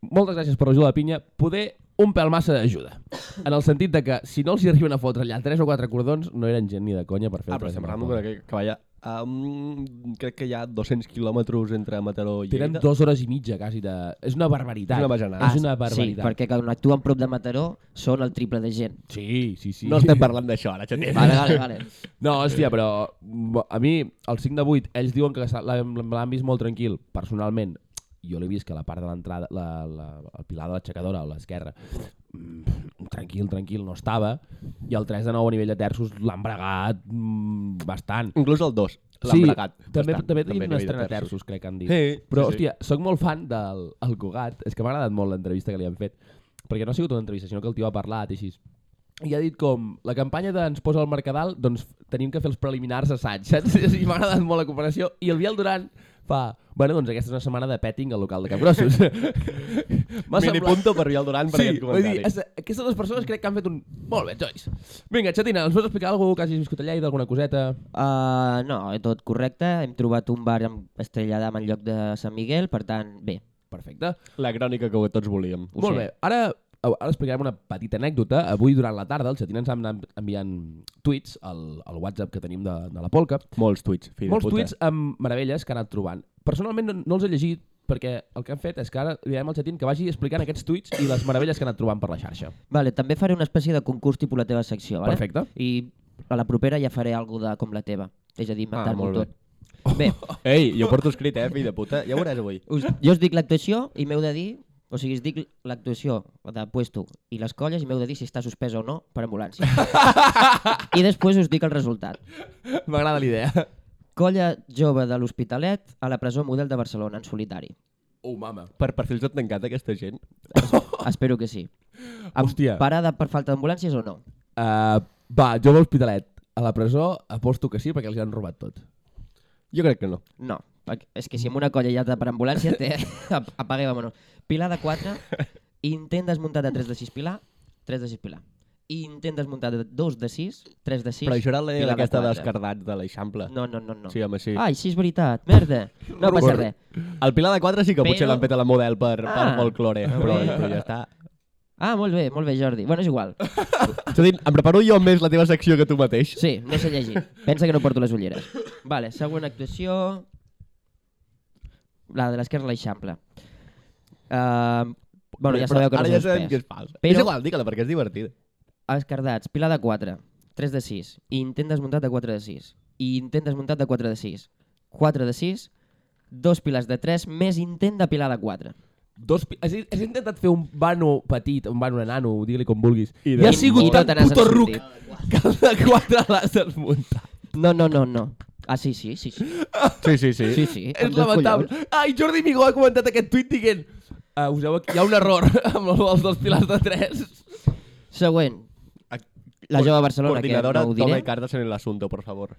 [SPEAKER 1] moltes gràcies per l'ajuda de pinya, poder un pèl massa d'ajuda. En el sentit de que si no els hi arriben a fotre allà 3 o 4 cordons, no eren gent ni de conya per fer
[SPEAKER 3] Ah,
[SPEAKER 1] el
[SPEAKER 3] però
[SPEAKER 1] tres de
[SPEAKER 3] estem
[SPEAKER 1] nou en
[SPEAKER 3] parlant
[SPEAKER 1] folre.
[SPEAKER 3] que, que vaya... Um, crec que hi ha 200 quilòmetres entre Mataró i
[SPEAKER 1] Tenen
[SPEAKER 3] Lleida.
[SPEAKER 1] dues hores i mitja, quasi, de... És una barbaritat.
[SPEAKER 3] És una Ah, bajanada.
[SPEAKER 1] És una
[SPEAKER 2] sí,
[SPEAKER 1] barbaritat.
[SPEAKER 2] perquè quan actuen prop de Mataró són el triple de gent.
[SPEAKER 1] Sí, sí, sí.
[SPEAKER 3] No estem parlant d'això, ara, Chatín.
[SPEAKER 2] Vale, vale, vale.
[SPEAKER 1] No, hòstia, però bo, a mi, el 5 de 8, ells diuen que s'ha- l'han l'han vist molt tranquil, personalment. jo l'he vist que la part de l'entrada, la, la, el pilar de l'aixecadora a l'esquerra, mm, tranquil, tranquil, no estava, i el 3 de 9 a nivell de terços l'han bregat mm, bastant.
[SPEAKER 3] Inclús el 2 l'han sí, bregat.
[SPEAKER 1] també,
[SPEAKER 3] bastant,
[SPEAKER 1] també tenim una
[SPEAKER 3] a nivell de
[SPEAKER 1] estrena
[SPEAKER 3] terços.
[SPEAKER 1] terços, crec que han dit.
[SPEAKER 3] Sí,
[SPEAKER 1] Però,
[SPEAKER 3] sí, sí.
[SPEAKER 1] hòstia, sóc molt fan del el Cugat. És que m'ha agradat molt l'entrevista que li han fet. Perquè no ha sigut una entrevista, sinó que el tio ha parlat i així. I ha dit com, la campanya d'Ens posa al Mercadal, doncs tenim que fer els preliminars a Sants, saps? I m'ha agradat molt la comparació. I el Biel Duran fa, bueno, doncs aquesta és una setmana de petting al local de Capgrossos. M'ha
[SPEAKER 3] Mini punto per Vial Durant per
[SPEAKER 1] Sí,
[SPEAKER 3] aquest
[SPEAKER 1] vull dir,
[SPEAKER 3] comentari.
[SPEAKER 1] es- aquestes dues persones crec que han fet un... Molt bé, Joyce. Vinga, Xatina, ens pots explicar alguna cosa que hagis viscut allà i d'alguna coseta?
[SPEAKER 2] Uh, no, tot correcte. Hem trobat un bar amb Estrella d'Am en lloc de Sant Miguel, per tant, bé.
[SPEAKER 1] Perfecte.
[SPEAKER 3] La crònica que tots volíem.
[SPEAKER 2] Ho
[SPEAKER 1] Molt
[SPEAKER 2] sé.
[SPEAKER 1] bé, ara, ara explicarem una petita anècdota. Avui, durant la tarda, el Xatín ens ha anat enviant tuits al, al WhatsApp que tenim de, de la Polca.
[SPEAKER 3] Molts tuits, fill
[SPEAKER 1] Molts
[SPEAKER 3] de puta.
[SPEAKER 1] tuits amb meravelles que ha anat trobant. Personalment no, no els he llegit perquè el que han fet és que ara li diem al Xatín que vagi explicant aquests tuits i les meravelles que ha anat trobant per la xarxa.
[SPEAKER 2] Vale, també faré una espècie de concurs tipus la teva secció, vale?
[SPEAKER 1] Perfecte.
[SPEAKER 2] I a la propera ja faré alguna de com la teva. És
[SPEAKER 1] Ah,
[SPEAKER 2] a dir, inventar-m'ho
[SPEAKER 3] molt bé.
[SPEAKER 2] tot. Bé,
[SPEAKER 3] Ei, jo porto escrit, eh, fill de puta. Ja ho veuràs avui.
[SPEAKER 2] us, jo us dic l'actuació i m'heu de dir... O sigui, us dic l'actuació de puesto i les colles i m'heu de dir si està suspesa o no per ambulància. I després us dic el resultat.
[SPEAKER 1] M'agrada la idea.
[SPEAKER 2] Colla jove de l'Hospitalet a la presó model de Barcelona, en solitari.
[SPEAKER 1] Oh, mama.
[SPEAKER 3] Per perfils tot tancat, aquesta gent.
[SPEAKER 2] Espero que sí.
[SPEAKER 1] Hòstia.
[SPEAKER 2] Parada per falta d'ambulàncies o no?
[SPEAKER 1] Uh, va, jo a l'Hospitalet. A la presó aposto que sí perquè els han robat tot.
[SPEAKER 3] Jo crec que no.
[SPEAKER 2] No. perquè- És que si amb una colla ja de per ambulància té... ap- Apague, vámonos. Pilar de 4, intent desmuntar de 3 de 6 pilar, 3 de 6 pilar. Intent desmuntar de 2 de 6, 3 de 6...
[SPEAKER 3] Però això era la
[SPEAKER 2] pilar de
[SPEAKER 3] aquesta
[SPEAKER 2] quatre.
[SPEAKER 3] dels cardats de l'Eixample.
[SPEAKER 2] No, no, no, no.
[SPEAKER 3] Sí, home, sí.
[SPEAKER 2] Ai, sí, és veritat. Merda. No passa
[SPEAKER 1] Robert.
[SPEAKER 2] res.
[SPEAKER 3] El Pilar de 4 sí que potser
[SPEAKER 2] Però-
[SPEAKER 3] l'han fet a la model per, per
[SPEAKER 2] Ah.
[SPEAKER 3] folklore,
[SPEAKER 2] Ah,
[SPEAKER 3] però,
[SPEAKER 2] bé.
[SPEAKER 3] però ja està.
[SPEAKER 2] Ah, molt bé, molt bé, Jordi. Bueno, és igual.
[SPEAKER 3] Jodin, em preparo jo més la teva secció que tu mateix.
[SPEAKER 2] Sí, no sé llegir. Pensa que no porto les ulleres. Vale, següent actuació... La de l'esquerra, l'Eixample. Uh, bueno, ja
[SPEAKER 3] Però
[SPEAKER 2] sabeu que no
[SPEAKER 3] Ara
[SPEAKER 2] sé
[SPEAKER 3] ja
[SPEAKER 2] els
[SPEAKER 3] sabem
[SPEAKER 2] pes.
[SPEAKER 3] que és fals.
[SPEAKER 2] Però-
[SPEAKER 3] És igual, digue-la, perquè és divertida.
[SPEAKER 2] Escardats, pilar de 4, 3 de 6, i intent desmuntat de 4 de 6, i intent desmuntat de 4 de 6, 4 de 6, dos pilars de 3, més intent de pilar de 4.
[SPEAKER 1] Dos pi... has, has intentat fer un vano petit, un vano enano, digue-li com vulguis. I,
[SPEAKER 3] I
[SPEAKER 1] I
[SPEAKER 3] de-
[SPEAKER 1] ha sigut
[SPEAKER 2] I no
[SPEAKER 1] tan
[SPEAKER 2] te n'has
[SPEAKER 1] puto ruc
[SPEAKER 2] sortit.
[SPEAKER 1] que el de quatre l'has desmuntat.
[SPEAKER 2] No, no, no, no. Ah, sí, sí, sí, sí.
[SPEAKER 3] Sí, sí, sí.
[SPEAKER 2] sí, sí.
[SPEAKER 1] És lamentable. Ai, Jordi Migó ha comentat aquest tuit dient uh, us heu, hi ha un error amb el- els dos pilars de tres.
[SPEAKER 2] Següent. La jove de Barcelona, que
[SPEAKER 3] Coordinadora,
[SPEAKER 2] no ho
[SPEAKER 3] toma
[SPEAKER 2] diré.
[SPEAKER 3] cartas en el asunto, por favor.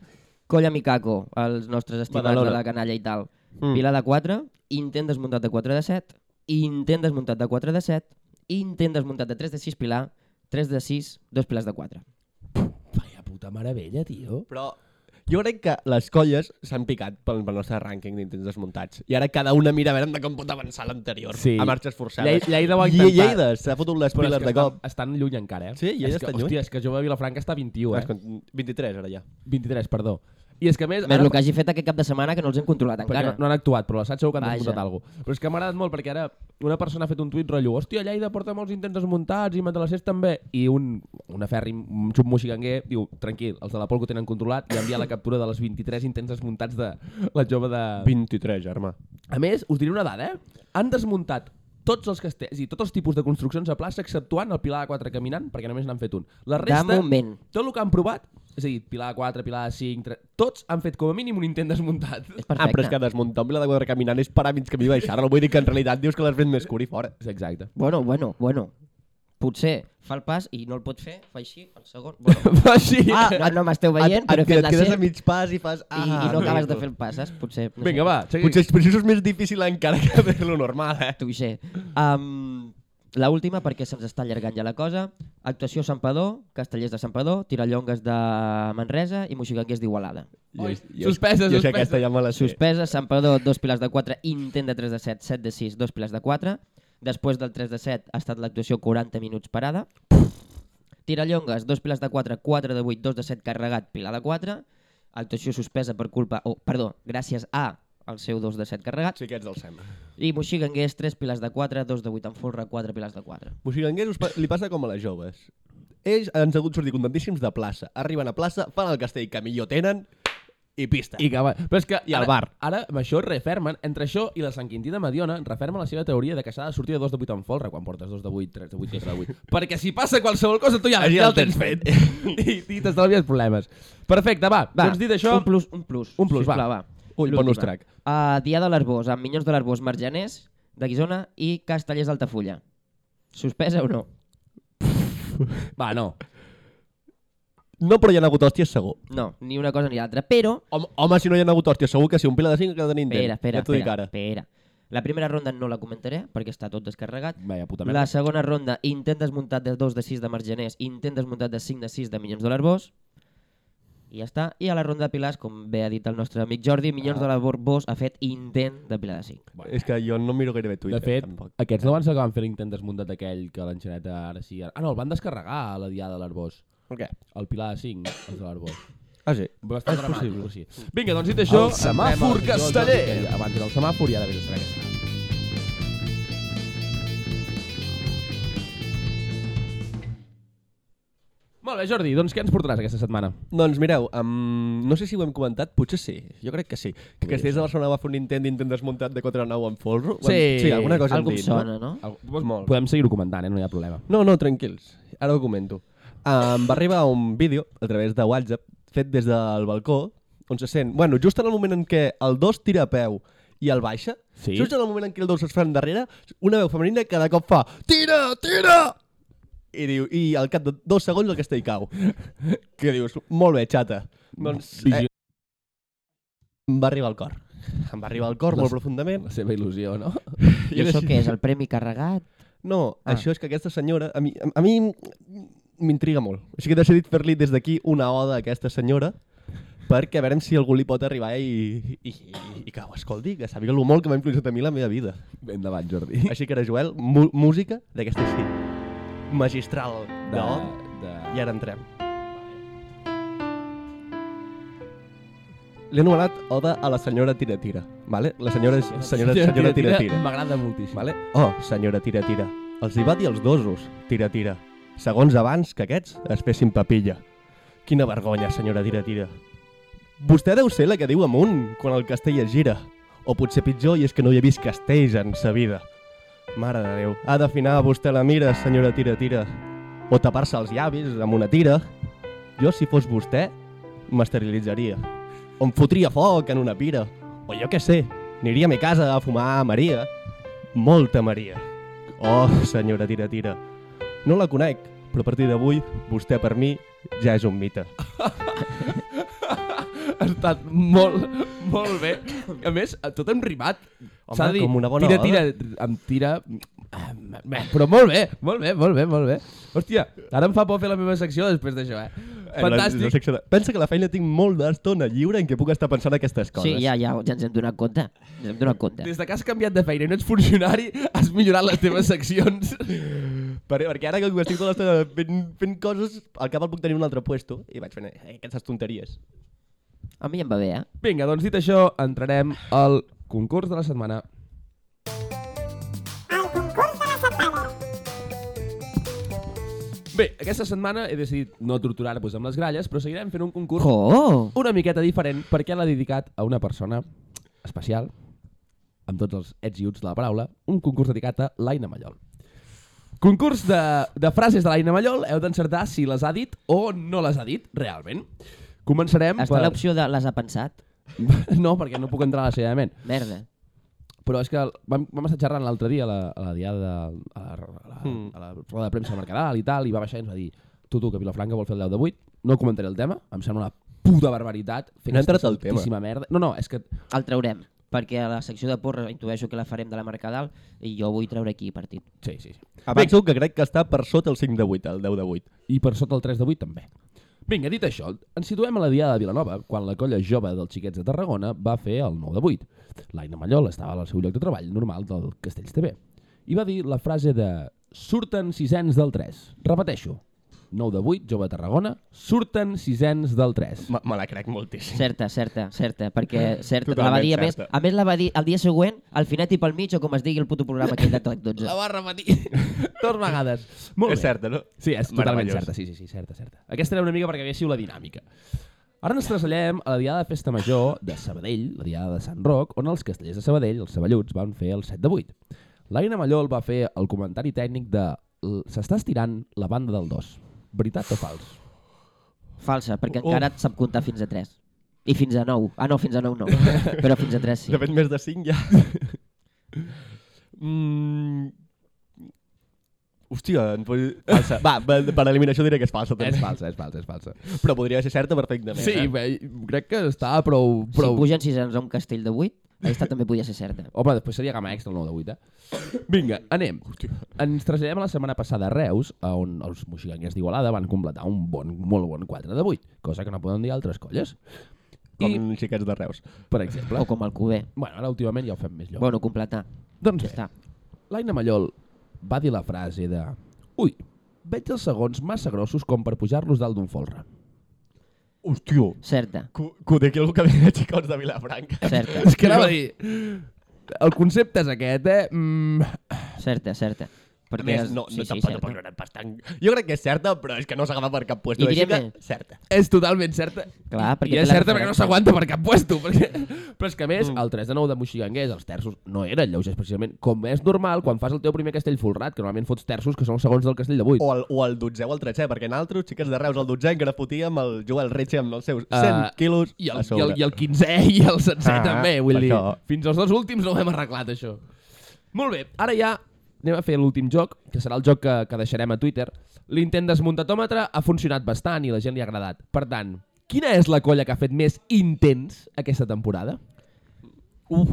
[SPEAKER 2] Colla Mikako, els nostres estimats
[SPEAKER 3] Badalona.
[SPEAKER 2] de la canalla i tal.
[SPEAKER 3] Mm.
[SPEAKER 2] Pilar de 4, intent desmuntat de 4 de 7, intent desmuntat de 4 de 7, intent desmuntat de 3 de 6 pilar, 3 de 6, dos pilars de 4.
[SPEAKER 1] Vaya puta meravella, tio.
[SPEAKER 3] Però jo crec que les colles s'han picat pel, pel nostre rànquing d'intents desmuntats. I ara cada una mira a veure de com pot avançar l'anterior.
[SPEAKER 1] Sí.
[SPEAKER 3] A marxes forçades.
[SPEAKER 1] Llei- Lleida ho ha
[SPEAKER 3] I
[SPEAKER 1] intentat.
[SPEAKER 3] Lleida s'ha fotut les
[SPEAKER 1] Però és
[SPEAKER 3] piles
[SPEAKER 1] que
[SPEAKER 3] de
[SPEAKER 1] estan,
[SPEAKER 3] cop.
[SPEAKER 1] estan lluny encara, eh?
[SPEAKER 3] Sí, ja
[SPEAKER 1] és
[SPEAKER 3] estan
[SPEAKER 1] que,
[SPEAKER 3] lluny.
[SPEAKER 1] Hòstia, és que Jove Vilafranca està a 21, eh?
[SPEAKER 3] 23, ara ja.
[SPEAKER 1] 23, perdó. I és que a més...
[SPEAKER 2] Més
[SPEAKER 1] ara-
[SPEAKER 2] el que hagi fet aquest cap de setmana que no els hem controlat
[SPEAKER 1] perquè
[SPEAKER 2] encara.
[SPEAKER 1] no, no han actuat, però l'assaig segur que han
[SPEAKER 2] Vaja.
[SPEAKER 1] desmuntat alguna cosa. Però és que m'ha agradat molt, perquè ara una persona ha fet un tuit rotllo hòstia, Lleida porta molts intents desmuntats i Matalassers també. I un, un afèrrim, un xupmoxiganguer, diu, tranquil, els de la Polco tenen controlat i envia la captura de les 23 intents desmuntats de la jove de...
[SPEAKER 3] 23, germà.
[SPEAKER 1] A més, us diré una dada, eh? Han desmuntat tots els castells i tots els tipus de construccions a plaça, exceptuant el Pilar de 4 caminant, perquè només n'han fet un. La
[SPEAKER 2] De
[SPEAKER 1] resta,
[SPEAKER 2] moment.
[SPEAKER 1] tot el que han provat, és a dir, Pilar de 4, Pilar de 5, 3, tots han fet com a mínim un intent desmuntat.
[SPEAKER 2] És
[SPEAKER 3] Ah, però és
[SPEAKER 2] perfecte.
[SPEAKER 3] que desmuntar un de quadra caminant és parar mig camí i baixar-lo. Vull dir que en realitat dius que l'has fet més curt i fora.
[SPEAKER 1] Exacte.
[SPEAKER 2] Bueno, bueno, bueno. Potser fa el pas i no el pot fer, fa així, el segon. Bueno.
[SPEAKER 1] Així.
[SPEAKER 2] Ah, no, no m'esteu veient,
[SPEAKER 3] et,
[SPEAKER 2] però he
[SPEAKER 3] et,
[SPEAKER 2] fet
[SPEAKER 3] et
[SPEAKER 2] la
[SPEAKER 3] quedes
[SPEAKER 2] C
[SPEAKER 3] a mig pas i fas...
[SPEAKER 2] i,
[SPEAKER 3] Ah,
[SPEAKER 2] i no acabes de fer el pas, saps? Potser... No
[SPEAKER 1] Vinga,
[SPEAKER 2] sé.
[SPEAKER 1] va, seguim.
[SPEAKER 3] Potser, potser això és més difícil encara que fer-lo normal, eh?
[SPEAKER 2] Tuixer. Um, la última, perquè se'ns està allargant ja la cosa. Actuació a Santpedor, Castellers de Santpedor, Tirallongues de Manresa i Moixiganguers d'Igualada.
[SPEAKER 1] Oi,
[SPEAKER 3] Jo- jo-
[SPEAKER 1] suspesa,
[SPEAKER 3] Jo
[SPEAKER 1] suspesa.
[SPEAKER 3] sé aquesta ja me la sé.
[SPEAKER 2] Suspesa, Santpedor, dos pilars de 4, intent de 3 de 7, 7 de 6, dos pilars de 4. Després del 3 de 7 ha estat l'actuació 40 minuts parada. Tirallongues, dos pilars de 4, 4 de 8, 2 de 7 carregat, pilar de 4. Actuació suspesa per culpa, o oh, perdó, gràcies a el seu 2 de 7 carregat.
[SPEAKER 3] Sí que ets del SEM.
[SPEAKER 2] I Moixiganguers, 3 pilars de 4, 2 de 8 en folre, 4 pilars de 4.
[SPEAKER 3] Moxiganguers us pa li passa com a les joves. Ells han sabut sortir contentíssims de plaça. Arriben a plaça, fan el castell que millor tenen i pista.
[SPEAKER 1] I que, va- però és que
[SPEAKER 3] I al
[SPEAKER 1] ara-
[SPEAKER 3] bar.
[SPEAKER 1] Ara, amb això refermen, entre això i la Sant Quintí de Mediona, refermen la seva teoria de que s'ha de sortir de 2 de 8 en folre quan portes 2 de 8, 3 de 8, 4 de 8. Perquè si passa qualsevol cosa, tu ja,
[SPEAKER 3] Allí
[SPEAKER 1] ja
[SPEAKER 3] el
[SPEAKER 1] el tens
[SPEAKER 3] tens
[SPEAKER 1] fet. I, i t'estalvies problemes. Perfecte, va. va. Doncs dit això...
[SPEAKER 2] Un plus, un plus.
[SPEAKER 1] Un plus,
[SPEAKER 2] sisplau,
[SPEAKER 1] va.
[SPEAKER 2] va.
[SPEAKER 3] Ull,
[SPEAKER 2] L'última.
[SPEAKER 3] bonus track.
[SPEAKER 2] A Dia de l'Arbós, amb Minyons de l'Arbós, Marjaners, de Guisona i Castellers d'Altafulla. Suspesa o no?
[SPEAKER 1] Va, no.
[SPEAKER 3] No, però hi ha hagut hòsties segur.
[SPEAKER 2] No, ni una cosa ni l'altra. Però,
[SPEAKER 3] Home, home, si no hi ha hagut hòsties, segur que si un pila de 5 que tenim
[SPEAKER 2] espera, espera,
[SPEAKER 3] ja t'ho dic
[SPEAKER 2] espera,
[SPEAKER 3] ara.
[SPEAKER 2] espera. La primera ronda no la comentaré perquè està tot descarregat.
[SPEAKER 1] Vaja puta merda.
[SPEAKER 2] La segona ronda, intent desmuntat de 2 de 6 de Marjaners, intent desmuntat de 5 de 6 de Minyons de l'Arbós. I ja està. I a la ronda de Pilars, com bé ha dit el nostre amic Jordi,
[SPEAKER 3] Ah.
[SPEAKER 2] Minyons de l'Arbós ha fet intent de Pilar de 5.
[SPEAKER 3] És que jo no miro gairebé Twitter,
[SPEAKER 1] De fet,
[SPEAKER 3] tampoc.
[SPEAKER 1] aquests no van ser que van fer l'intent desmuntat aquell que l'enxaneta ara sí... Ara... Ah, no, el van descarregar a la Diada de l'Arbós.
[SPEAKER 3] Per què?
[SPEAKER 1] El Pilar de 5, els de l'Arbós.
[SPEAKER 3] Ah, sí.
[SPEAKER 1] Bastant dramàtic, possible. sí. Vinga, doncs dit això... El semàfor
[SPEAKER 3] casteller.
[SPEAKER 1] Abans del semàfor ja devia saber què serà. Molt bé, Jordi, doncs què ens portaràs aquesta setmana?
[SPEAKER 3] Doncs mireu, um, no sé si ho hem comentat, potser sí, jo crec que sí. Que Castells de Barcelona va fer un intent d'intent desmuntat de 4 a 9 en folro. Ho hem-
[SPEAKER 1] Sí.
[SPEAKER 3] sí alguna cosa
[SPEAKER 2] Algú em
[SPEAKER 3] hem dit,
[SPEAKER 2] sona, no?
[SPEAKER 1] Al-
[SPEAKER 3] Molt.
[SPEAKER 1] Podem seguir-ho comentant, eh? no hi ha problema.
[SPEAKER 3] No? no, no, tranquils, ara ho comento. Um, va arribar un vídeo a través de WhatsApp fet des del balcó on se sent, bueno, just en el moment en què el 2 tira a peu i el baixa,
[SPEAKER 1] Sí.
[SPEAKER 3] just en el moment en què el 2 es fa endarrere, una veu femenina cada cop fa tira, tira! I diu, i al cap de dos segons el castell cau. que dius, molt bé, xata. Doncs, eh,
[SPEAKER 1] Vigi-
[SPEAKER 3] Em va arribar al cor. Em va arribar al cor
[SPEAKER 1] Les-
[SPEAKER 3] molt profundament.
[SPEAKER 1] La seva il·lusió, no?
[SPEAKER 2] I això què és, el premi carregat?
[SPEAKER 3] No,
[SPEAKER 2] Ah.
[SPEAKER 3] ah. això és que aquesta senyora... A mi, a, a mi m'intriga molt. Així que he decidit fer-li des d'aquí una oda a aquesta senyora perquè a veure si algú li pot arribar i, i, i, i que ho escolti, que sàpiga lo molt que m'ha influït a mi la meva vida.
[SPEAKER 1] Endavant, Jordi.
[SPEAKER 3] Així que ara, Joel, mu- música d'aquesta així. Magistral d'oda.
[SPEAKER 1] de...
[SPEAKER 3] I ara entrem. L'he anomenat Oda a la senyora Tira Tira, vale? La senyora, és- senyora, senyora Tira Tira.
[SPEAKER 1] M'agrada moltíssim.
[SPEAKER 3] Vale? Oh, senyora Tira Tira. Els hi va dir als dosos, Tira Tira. Segons abans que aquests es fessin papilla. Quina vergonya, senyora Tira Tira. Vostè deu ser la que diu amunt quan el castell es gira. O potser pitjor, i és que no hi ha vist castells en sa vida. Mare de Déu, ha d'afinar vostè la mira, senyora Tira Tira. O tapar-se els llavis amb una tira. Jo, si fos vostè, m'esterilitzaria. O em fotria foc en una pira. O jo què sé, aniria a mi casa a fumar a Maria. Molta Maria. Oh, senyora Tira Tira. No la conec, però a partir d'avui, vostè per mi ja és un mite.
[SPEAKER 1] Ha estat molt, molt bé. A més, tot hem rimat.
[SPEAKER 3] Home,
[SPEAKER 1] S'ha de dir,
[SPEAKER 3] com una bona
[SPEAKER 1] tira,
[SPEAKER 3] oda.
[SPEAKER 1] tira, em tira... Bé, Però molt bé, molt bé, molt bé, molt bé. Hòstia, ara em fa por fer la meva secció després d'això, eh?
[SPEAKER 3] La, la
[SPEAKER 1] Fantàstic.
[SPEAKER 3] secció de... Pensa que a la feina tinc molt d'estona lliure en què puc estar pensant aquestes coses.
[SPEAKER 2] Sí, ja, ja, ja ens hem donat compte. Ens hem donat compte.
[SPEAKER 1] Des de que has canviat de feina i no ets funcionari, has millorat les teves seccions.
[SPEAKER 3] Per, perquè ara que estic tota l'estona fent, fent coses, al cap el puc tenir un altre puesto i vaig fent eh, aquestes tonteries.
[SPEAKER 2] A mi em va bé, eh?
[SPEAKER 1] Vinga, doncs dit això, entrarem al concurs de la setmana.
[SPEAKER 4] al concurs de la setmana.
[SPEAKER 1] Bé, aquesta setmana he decidit no torturar-vos amb les gralles, però seguirem fent un concurs
[SPEAKER 2] Oh!
[SPEAKER 1] una miqueta diferent perquè l'ha dedicat a una persona especial, amb tots els ets i uts de la paraula, un concurs dedicat a l'Aina Mallol. Concurs de, de frases de l'Aina Mallol, heu d'encertar si les ha dit o no les ha dit, realment. Començarem
[SPEAKER 2] Està
[SPEAKER 1] per...
[SPEAKER 2] l'opció de les ha pensat?
[SPEAKER 1] No, perquè no puc entrar a la seva ment.
[SPEAKER 2] Merda.
[SPEAKER 1] Però és que vam, vam estar xerrant l'altre dia a la, a la diada de, a, la, a, la,
[SPEAKER 3] Hmm.
[SPEAKER 1] a la roda de premsa de Mercadal i tal, i va baixar i ens va dir tu, tu, que Vilafranca vol fer el 10 de 8, no comentaré el tema, em sembla una puta barbaritat. fer
[SPEAKER 3] No ha
[SPEAKER 1] aquesta
[SPEAKER 3] entrat el tema.
[SPEAKER 1] santíssima Merda. No, no, és que
[SPEAKER 2] El traurem, perquè a la secció de porra intueixo que la farem de la Mercadal i jo vull treure aquí partit.
[SPEAKER 1] Sí, sí. sí.
[SPEAKER 3] Avanço que crec que està per sota el 5 de 8, el 10 de 8.
[SPEAKER 1] I per sota el 3 de 8 també. Vinga, dit això, ens situem a la Diada de Vilanova, quan la colla jove dels xiquets de Tarragona va fer el 9 de 8. L'Aina Mallol estava al seu lloc de treball normal del Castells TV. I va dir la frase de surten sisens del 3. Repeteixo, 9 de 8, jove de Tarragona, surten sisens del 3.
[SPEAKER 3] Me, me la crec moltíssim.
[SPEAKER 2] Certa, certa, certa, perquè certa,
[SPEAKER 3] Totalment
[SPEAKER 2] la va dir a més,
[SPEAKER 3] certa.
[SPEAKER 2] a més la va dir el dia següent, al final i pel mig o com es digui el puto programa aquell de Clac 12.
[SPEAKER 1] va repetir dues vegades. Molt
[SPEAKER 3] és
[SPEAKER 1] bé.
[SPEAKER 3] certa, no?
[SPEAKER 1] Sí, és totalment
[SPEAKER 3] Meravellós.
[SPEAKER 1] certa, sí, sí, sí, certa, certa. Aquesta era una mica perquè haguéssiu la dinàmica. Ara ens traslladem a la Diada de Festa Major de Sabadell, la Diada de Sant Roc, on els castellers de Sabadell, els saballuts, van fer el 7 de 8. L'Aina Mallol va fer el comentari tècnic de "L- s'està estirant la banda del 2. Veritat o fals?
[SPEAKER 2] Falsa, perquè
[SPEAKER 3] Oh.
[SPEAKER 2] encara et sap comptar fins a 3. I fins a 9. Ah, no, fins a 9 no. Però fins a 3 sí.
[SPEAKER 3] De fet, més de 5 ja. mm... Hòstia, en... pot- falsa. Va, per per eliminació diré que és falsa també.
[SPEAKER 1] És falsa, és falsa, és falsa.
[SPEAKER 3] Però podria ser certa perfectament.
[SPEAKER 1] Eh. Sí,
[SPEAKER 3] eh?
[SPEAKER 1] bé, crec que està prou...
[SPEAKER 2] Si
[SPEAKER 1] prou...
[SPEAKER 2] pugen sisens a un castell de 8, aquesta també podia ser certa.
[SPEAKER 1] Home, després seria gamma extra el 9 de 8, eh? Vinga, anem. Ens traslladem a la setmana passada a Reus, a on els moxiganguers d'Igualada van completar un bon, molt bon 4 de 8, cosa que no poden dir altres colles,
[SPEAKER 3] Com I... xiquets de Reus.
[SPEAKER 1] per exemple.
[SPEAKER 2] O com el cuber.
[SPEAKER 1] Bueno, ara últimament ja ho fem més lloc.
[SPEAKER 2] Bueno, completar.
[SPEAKER 1] doncs
[SPEAKER 2] Ja
[SPEAKER 1] bé,
[SPEAKER 2] està.
[SPEAKER 1] l'Aina Mallol va dir la frase de Ui, veig els segons massa grossos com per pujar-los dalt d'un folre.
[SPEAKER 3] Hòstia,
[SPEAKER 2] Certa.
[SPEAKER 3] que, que ho dic algú que ve de xicots de Vilafranca.
[SPEAKER 2] Certa,
[SPEAKER 1] És que anava a dir... El concepte és aquest, eh? Mm,
[SPEAKER 2] certa, certa.
[SPEAKER 3] A
[SPEAKER 2] Perquè
[SPEAKER 3] més,
[SPEAKER 2] és-
[SPEAKER 3] no,
[SPEAKER 2] sí,
[SPEAKER 3] no
[SPEAKER 2] sí,
[SPEAKER 3] tampoc, tampoc
[SPEAKER 2] certa.
[SPEAKER 3] no anem pas tan... Jo crec que és certa, però és que no s'agafa per cap puesto.
[SPEAKER 2] I
[SPEAKER 3] així
[SPEAKER 2] diré
[SPEAKER 3] que...
[SPEAKER 2] més.
[SPEAKER 3] Certa.
[SPEAKER 1] és totalment certa.
[SPEAKER 2] Clar, perquè
[SPEAKER 1] I
[SPEAKER 2] té
[SPEAKER 1] és
[SPEAKER 2] la
[SPEAKER 1] certa perquè no
[SPEAKER 2] referència. Mm.
[SPEAKER 1] s'aguanta per cap puesto. Perquè... Però és que, a més, el 3 de 9 de Moixiganguers, els terços, no eren lleugers, precisament. Com és normal, quan fas el teu primer castell folrat, que normalment fots terços, que són els segons del castell de 8.
[SPEAKER 3] O el, o el 12 o el 13, perquè nosaltres, xiques de Reus, el 12 encara fotíem el Joel Retxe amb els seus 100
[SPEAKER 1] Eh,
[SPEAKER 3] quilos
[SPEAKER 1] I el,
[SPEAKER 3] a
[SPEAKER 1] i
[SPEAKER 3] sobre.
[SPEAKER 1] el, i el 15è i el 16è ah,
[SPEAKER 3] Ah,
[SPEAKER 1] també, vull
[SPEAKER 3] per
[SPEAKER 1] dir.
[SPEAKER 3] això.
[SPEAKER 1] Fins als dos últims no ho hem arreglat, això. Molt bé, ara ja anem a fer l'últim joc, que serà el joc que, que deixarem a Twitter. L'intent desmuntatòmetre ha funcionat bastant i la gent li ha agradat. Per tant, quina és la colla que ha fet més intents aquesta temporada?
[SPEAKER 3] Uf.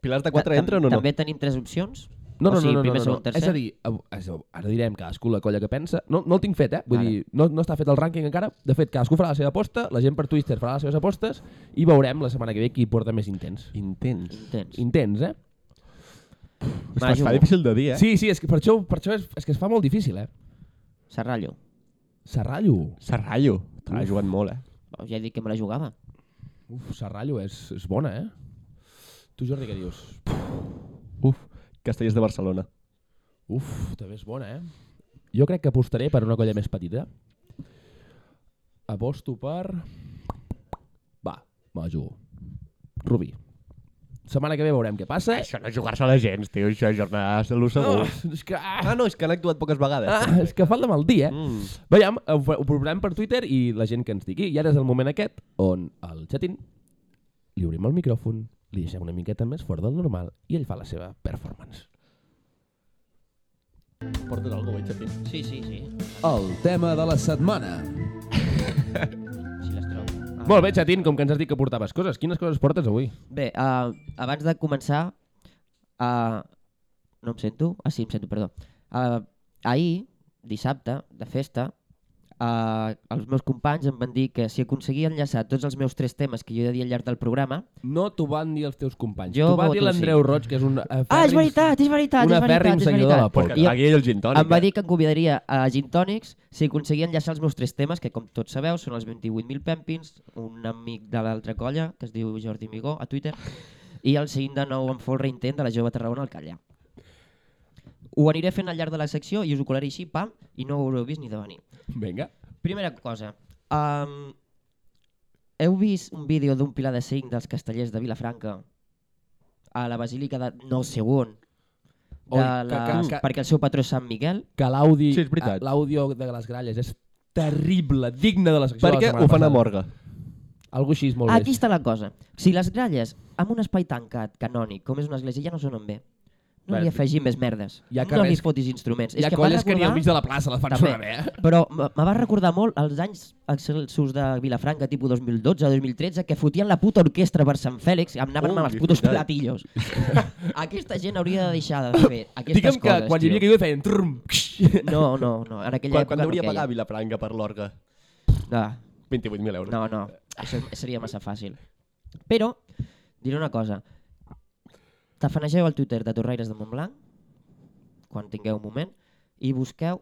[SPEAKER 3] Pilars de 4
[SPEAKER 2] Ta-
[SPEAKER 3] entren o no?
[SPEAKER 2] També tenim tres opcions?
[SPEAKER 1] No,
[SPEAKER 2] o
[SPEAKER 1] no,
[SPEAKER 2] sigui,
[SPEAKER 1] no, no,
[SPEAKER 2] primer,
[SPEAKER 1] no, no,
[SPEAKER 2] segon,
[SPEAKER 1] no.
[SPEAKER 2] tercer?
[SPEAKER 1] És a dir, av- és a dir, ara direm cadascú la colla que pensa. No, no el tinc fet, eh? Vull
[SPEAKER 2] Ara.
[SPEAKER 1] dir, no, no està fet el rànquing encara. De fet, cadascú farà la seva aposta, la gent per Twitter farà les seves apostes i veurem la setmana que ve qui porta més intents.
[SPEAKER 3] Intens.
[SPEAKER 2] Intens.
[SPEAKER 1] Intents, eh?
[SPEAKER 2] Va,
[SPEAKER 3] Ostres,
[SPEAKER 2] jugo.
[SPEAKER 3] fa difícil de dir, eh?
[SPEAKER 1] Sí, sí, és que per això, per això és, és que es fa molt difícil, eh?
[SPEAKER 2] Serrallo.
[SPEAKER 1] Serrallo.
[SPEAKER 3] Serrallo. Te l'ha jugat molt, eh?
[SPEAKER 2] Oh, Ja he dit que me la jugava.
[SPEAKER 1] Uf, Serrallo és, és bona, eh? Tu, Jordi, què dius?
[SPEAKER 3] Uf. Castellers de Barcelona.
[SPEAKER 1] Uf, també és bona, eh? Jo crec que apostaré per una colla més petita. Aposto per... Va, me la jugo. Rubí. Setmana que ve veurem què passa.
[SPEAKER 3] Això no és jugar-se-la gens, tio. Això és jornades de l'ús
[SPEAKER 1] Oh,
[SPEAKER 3] segur.
[SPEAKER 1] és que... Ah,
[SPEAKER 3] Ah, no, és que han actuat poques vegades.
[SPEAKER 1] ah, és que falta mal dia, eh?
[SPEAKER 3] Mm.
[SPEAKER 1] Veiem, ho, fa- ho provarem per Twitter i la gent que ens digui. I ara és el moment aquest on el xatín li obrim el micròfon, li deixem una miqueta més fort del normal i ell fa la seva performance.
[SPEAKER 3] Portes alguna cosa, Xatín?
[SPEAKER 2] Sí, sí, sí.
[SPEAKER 5] El tema de la setmana.
[SPEAKER 2] Si les trobo. Ah.
[SPEAKER 1] Molt bé, xatín, com que ens has dit que portaves coses, quines coses portes avui?
[SPEAKER 2] Bé, uh, abans de començar... Uh, no em sento? Ah, sí, em sento, perdó. Uh, ahir, dissabte, de festa, uh, els meus companys em van dir que si aconseguia enllaçar tots els meus tres temes que jo he de dir al llarg del programa...
[SPEAKER 1] No t'ho van dir els teus companys.
[SPEAKER 2] Jo
[SPEAKER 1] T'ho va
[SPEAKER 2] voto
[SPEAKER 1] dir l'Andreu Roig, que és un... Eh,
[SPEAKER 2] Ah, és veritat, és veritat,
[SPEAKER 1] un
[SPEAKER 2] és veritat,
[SPEAKER 1] afèrrim
[SPEAKER 2] és
[SPEAKER 1] seguidor de la
[SPEAKER 2] veritat.
[SPEAKER 1] Pol.
[SPEAKER 3] Pues que
[SPEAKER 2] I-
[SPEAKER 3] pagui ell el gin tònic. eh?
[SPEAKER 2] Em va dir que em convidaria a Gin Tònics si aconseguia enllaçar els meus tres temes, que com tots sabeu són els 28.000 pèmpins, un amic de l'altra colla, que es diu Jordi Migó, a Twitter, i el seguint de nou en folre intent de la jove Tarragona al Callà. Ho aniré fent al llarg de la secció i us ho colaré així, pam, i no ho haureu vist ni de venir.
[SPEAKER 1] Vinga.
[SPEAKER 2] Primera cosa. Um, heu vist un vídeo d'un pilar de 5 dels castellers de Vilafranca a la basílica de no sé on,
[SPEAKER 1] Oi,
[SPEAKER 2] de
[SPEAKER 1] que-
[SPEAKER 2] la...
[SPEAKER 1] que- que-
[SPEAKER 2] perquè el seu patró és Sant Miguel,
[SPEAKER 1] Que l'àudi...
[SPEAKER 3] Sí, és veritat.
[SPEAKER 1] eh, L'àudio de les gralles és terrible, digne de la secció de
[SPEAKER 3] Per
[SPEAKER 1] la
[SPEAKER 3] què
[SPEAKER 1] setmana
[SPEAKER 3] ho fan a
[SPEAKER 1] passada.
[SPEAKER 3] Morga?
[SPEAKER 1] Algú així és molt
[SPEAKER 2] Aquí
[SPEAKER 1] bé.
[SPEAKER 2] està la cosa. Si les gralles, amb un espai tancat, canònic, com és una església, ja no sonen bé. No
[SPEAKER 1] Bé,
[SPEAKER 2] li afegim més merdes.
[SPEAKER 1] hi ha
[SPEAKER 2] no li
[SPEAKER 1] carrers-
[SPEAKER 2] fotis instruments.
[SPEAKER 1] Hi ha
[SPEAKER 2] és que em va
[SPEAKER 1] colles que ni al
[SPEAKER 2] recordar-
[SPEAKER 1] mig de la plaça la fan
[SPEAKER 2] També.
[SPEAKER 1] sonar bé, eh?
[SPEAKER 2] Però me me va recordar molt els anys excelsos de Vilafranca, tipus 2012-2013, que fotien la puta orquestra per Sant Fèlix i em anaven
[SPEAKER 3] Ui,
[SPEAKER 2] amb els
[SPEAKER 3] és
[SPEAKER 2] putos
[SPEAKER 3] veritat.
[SPEAKER 2] platillos. Aquesta gent hauria de deixar de fer aquestes
[SPEAKER 1] Digue'm que
[SPEAKER 2] coses,
[SPEAKER 1] quan hi havia
[SPEAKER 2] tio.
[SPEAKER 1] caigut feien... Trum,
[SPEAKER 2] No, no, no. En aquella
[SPEAKER 3] Quan,
[SPEAKER 2] època
[SPEAKER 3] quan hauria
[SPEAKER 2] no
[SPEAKER 3] pagar
[SPEAKER 2] queia.
[SPEAKER 3] Vilafranca per l'orga?
[SPEAKER 2] Ah,
[SPEAKER 3] 28.000 euros.
[SPEAKER 2] No, no, això seria massa fàcil. Però, diré una cosa. Tafanegeu el Twitter de Torraires de Montblanc, quan tingueu un moment, i busqueu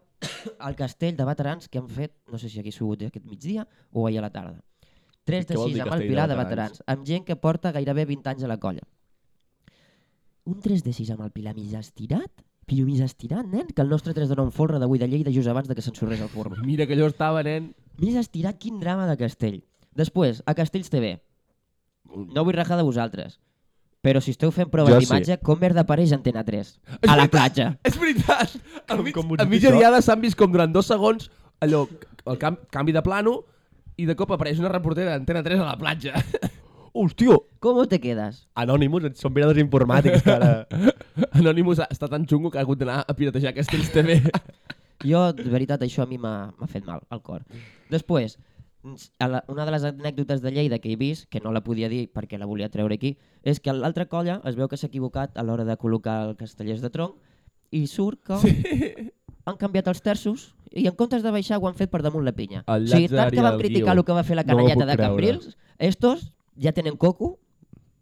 [SPEAKER 2] el castell de veterans que han fet, no sé si aquí s'ho aquest migdia o ahir a la tarda. 3 de
[SPEAKER 3] Què vol
[SPEAKER 2] 6
[SPEAKER 3] dir
[SPEAKER 2] amb el
[SPEAKER 3] castell de
[SPEAKER 2] Pilar de
[SPEAKER 3] veterans?
[SPEAKER 2] veterans, amb gent que porta gairebé 20 anys a la colla. Un 3 de 6 amb el Pilar mig estirat? Pillo mig estirat, nen? Que el nostre 3 de 9 folre d'avui de Lleida just abans de que s'ensorrés el forn.
[SPEAKER 1] Mira que allò estava, nen.
[SPEAKER 2] Més estirat, quin drama de castell. Després, a Castells TV. No vull rajar de vosaltres. Però si esteu fent proves
[SPEAKER 3] Jo
[SPEAKER 2] d'imatge, com merda apareix Antena 3? A la platja.
[SPEAKER 1] És veritat! Al mig,
[SPEAKER 3] com
[SPEAKER 1] com
[SPEAKER 3] ho
[SPEAKER 1] a
[SPEAKER 3] dic,
[SPEAKER 1] mitja
[SPEAKER 3] això?
[SPEAKER 1] diada s'han vist com durant dos segons allò, el cam canvi de plano i de cop apareix una reportera d'Antena 3 a la platja.
[SPEAKER 3] Hòstia,
[SPEAKER 2] Com te quedes?
[SPEAKER 3] Anonymous, són mirades informàtics, cara.
[SPEAKER 1] Anonymous ha- està tan xungo que ha hagut d'anar a piratejar Castells TV.
[SPEAKER 2] Jo, de veritat, això a mi m'ha m'ha fet mal al cor. Després, ens- a la, una de les anècdotes de Lleida que he vist, que no la podia dir perquè la volia treure aquí, és que l'altra colla es veu que s'ha equivocat a l'hora de col·locar el castellers de tronc i surt que sí. han canviat els terços i en comptes de baixar ho han fet per damunt la pinya.
[SPEAKER 1] El
[SPEAKER 2] o sigui,
[SPEAKER 1] Llàtzer
[SPEAKER 2] tant
[SPEAKER 1] i
[SPEAKER 2] que van
[SPEAKER 1] el
[SPEAKER 2] criticar
[SPEAKER 1] Guiu.
[SPEAKER 2] el que va fer la
[SPEAKER 3] No ho
[SPEAKER 2] canalleta
[SPEAKER 3] puc
[SPEAKER 2] de
[SPEAKER 3] creure.
[SPEAKER 2] Cambrils, estos ja tenen coco,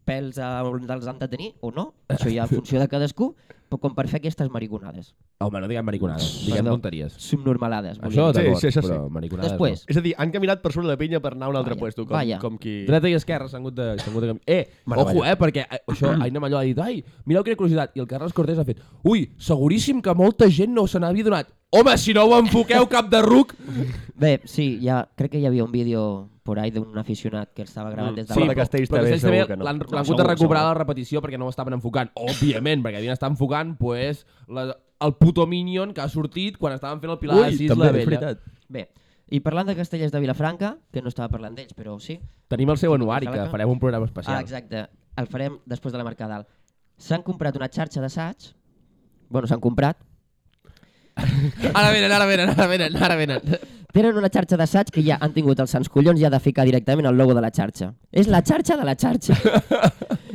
[SPEAKER 2] pèls a on els han de tenir o no, això ja en funció de cadascú, però com per fer aquestes mariconades.
[SPEAKER 1] Home, no diguem mariconades, diguem
[SPEAKER 2] Perdó.
[SPEAKER 1] tonteries.
[SPEAKER 2] Subnormalades, volia
[SPEAKER 1] Això
[SPEAKER 2] dir.
[SPEAKER 1] d'acord,
[SPEAKER 3] sí, això sí.
[SPEAKER 1] però mariconades
[SPEAKER 2] Després,
[SPEAKER 3] És a dir, han caminat per sobre la pinya per anar a un altre
[SPEAKER 2] Vaya,
[SPEAKER 3] puesto, com,
[SPEAKER 2] vaya.
[SPEAKER 3] com qui...
[SPEAKER 1] no. Dreta i esquerra s'han hagut de... s'han hagut de canvi- eh,
[SPEAKER 3] Meravella.
[SPEAKER 1] ojo, eh, perquè eh, això, Aina Malló ha dit, ai, mireu quina curiositat, i el Carles Cortés ha fet, ui, seguríssim que molta gent no se n'havia donat. Home, si no ho enfoqueu cap de ruc,
[SPEAKER 2] Bé, sí, ja, crec que hi havia un vídeo por ahí d'un aficionat que estava gravat des de
[SPEAKER 3] Sí,
[SPEAKER 2] la...
[SPEAKER 3] de Castells
[SPEAKER 1] però
[SPEAKER 3] també,
[SPEAKER 1] Castells
[SPEAKER 3] segur
[SPEAKER 1] també
[SPEAKER 3] que no.
[SPEAKER 1] l'han
[SPEAKER 3] No,
[SPEAKER 1] l'han hagut
[SPEAKER 3] segur,
[SPEAKER 1] de recuperar
[SPEAKER 3] segur.
[SPEAKER 1] la repetició perquè no ho estaven enfocant. Òbviament, perquè havien estat enfocant pues, la, el puto Minion que ha sortit quan estaven fent el Pilar de Sis la Vella.
[SPEAKER 2] Bé, i parlant de Castellers de Vilafranca, que no estava parlant d'ells, però sí.
[SPEAKER 1] Tenim el seu anuari, que
[SPEAKER 2] Sala que-
[SPEAKER 1] farem un programa especial.
[SPEAKER 2] Ah, exacte, el farem després de la Mercadal. S'han comprat una xarxa d'assaig, bueno, s'han comprat,
[SPEAKER 1] Ara venen, ara venen, ara venen, ara venen.
[SPEAKER 2] tenen una xarxa d'assaig que ja han tingut els sants collons ja de ficar directament el logo de la xarxa. És la xarxa de la xarxa.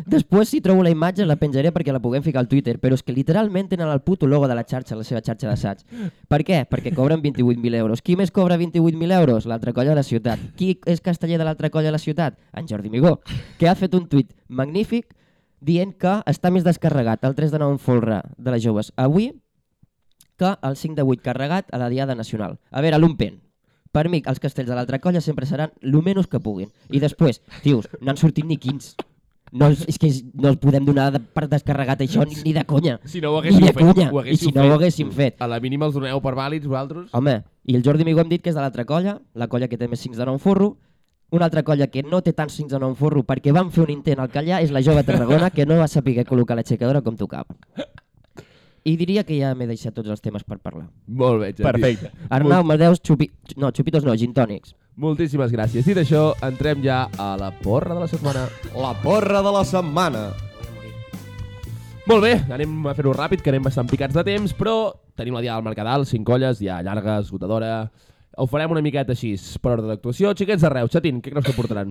[SPEAKER 2] Després, si trobo la imatge, la penjaré perquè la puguem ficar al Twitter, però és que literalment tenen el puto logo de la xarxa, a la seva xarxa d'assaig. Per què? Perquè cobren 28.000 euros. Qui més cobra 28.000 euros? L'altra colla de la ciutat. Qui és casteller de l'altra colla de la ciutat? En Jordi Migó, que ha fet un tuit magnífic dient que està més descarregat el 3 de 9 en folre de les joves avui que el 5 de 8 carregat a la Diada Nacional. A veure, l'Umpen. Per mi, els castells de l'altra colla sempre seran el menys que puguin. I després, tios, no han sortit ni 15. No, és és que és- no els podem donar de, per descarregat això ni, ni de conya.
[SPEAKER 1] Si no ho
[SPEAKER 2] Ni
[SPEAKER 1] haguéssim
[SPEAKER 2] de
[SPEAKER 1] fet,
[SPEAKER 2] conya.
[SPEAKER 1] ho
[SPEAKER 2] I si
[SPEAKER 1] haguéssiu
[SPEAKER 2] no ho
[SPEAKER 1] fet.
[SPEAKER 2] haguéssim fet.
[SPEAKER 1] A la mínima els doneu per vàlids, vosaltres?
[SPEAKER 2] Home, i el Jordi Migó hem dit que és de l'altra colla, la colla que té més 5 de 9 forro, una altra colla que no té tants 5 de 9 forro perquè van fer un intent al callar és la jove Tarragona que no va saber col·locar l'aixecadora com tocava. I diria que ja m'he deixat tots els temes per parlar.
[SPEAKER 1] Molt bé, Jordi.
[SPEAKER 3] Perfecte.
[SPEAKER 2] Arnau, Madeus, xupi... No, xupitos no, gin tònics.
[SPEAKER 1] Moltíssimes gràcies. Dit això, entrem ja a la porra de la setmana.
[SPEAKER 3] La porra de la setmana.
[SPEAKER 1] Molt bé, anem a fer-ho ràpid, que anem bastant picats de temps, però tenim la diada del Mercadal, cinc colles, ja llarga, esgotadora... Ho farem una miqueta així, per ordre d'actuació. Xiquets de Reus, Xatín, què creus que portaran?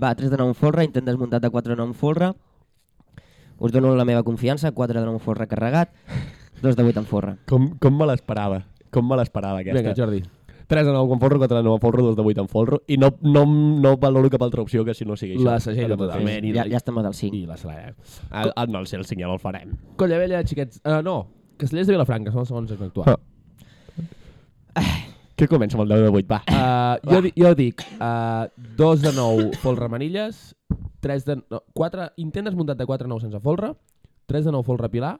[SPEAKER 2] Va, 3 de 9 en folre, intent desmuntat de 4 de 9 en folre. Us dono la meva confiança, 4 de 9 en folre carregat, 2 de 8 en folre.
[SPEAKER 3] Com, com me l'esperava. Com me l'esperava, aquesta.
[SPEAKER 1] Vinga, Jordi.
[SPEAKER 3] 3 de 9 en folro, 4 de 9 en folro, 2 de 8 en folro. I no, no, no valoro cap altra opció que si no sigui això.
[SPEAKER 1] La segella totalment. I,
[SPEAKER 2] Ja, ja estem del 5.
[SPEAKER 1] I la Saraya.
[SPEAKER 3] Ah, ah, no, el, el 5 ja no el farem.
[SPEAKER 1] Colla Vella, Xiquets... Uh, no, Castellers de Vilafranca, són els segons en actuar.
[SPEAKER 3] Ah. Que Ah. comença amb el 10 de 8, va. Ah,
[SPEAKER 1] Uh, jo, di- jo dic, uh, 2 de 9 folre manilles, 3 de... No, 4, intent desmuntat de 4 de 9 sense folre, 3 de 9 folre pilar,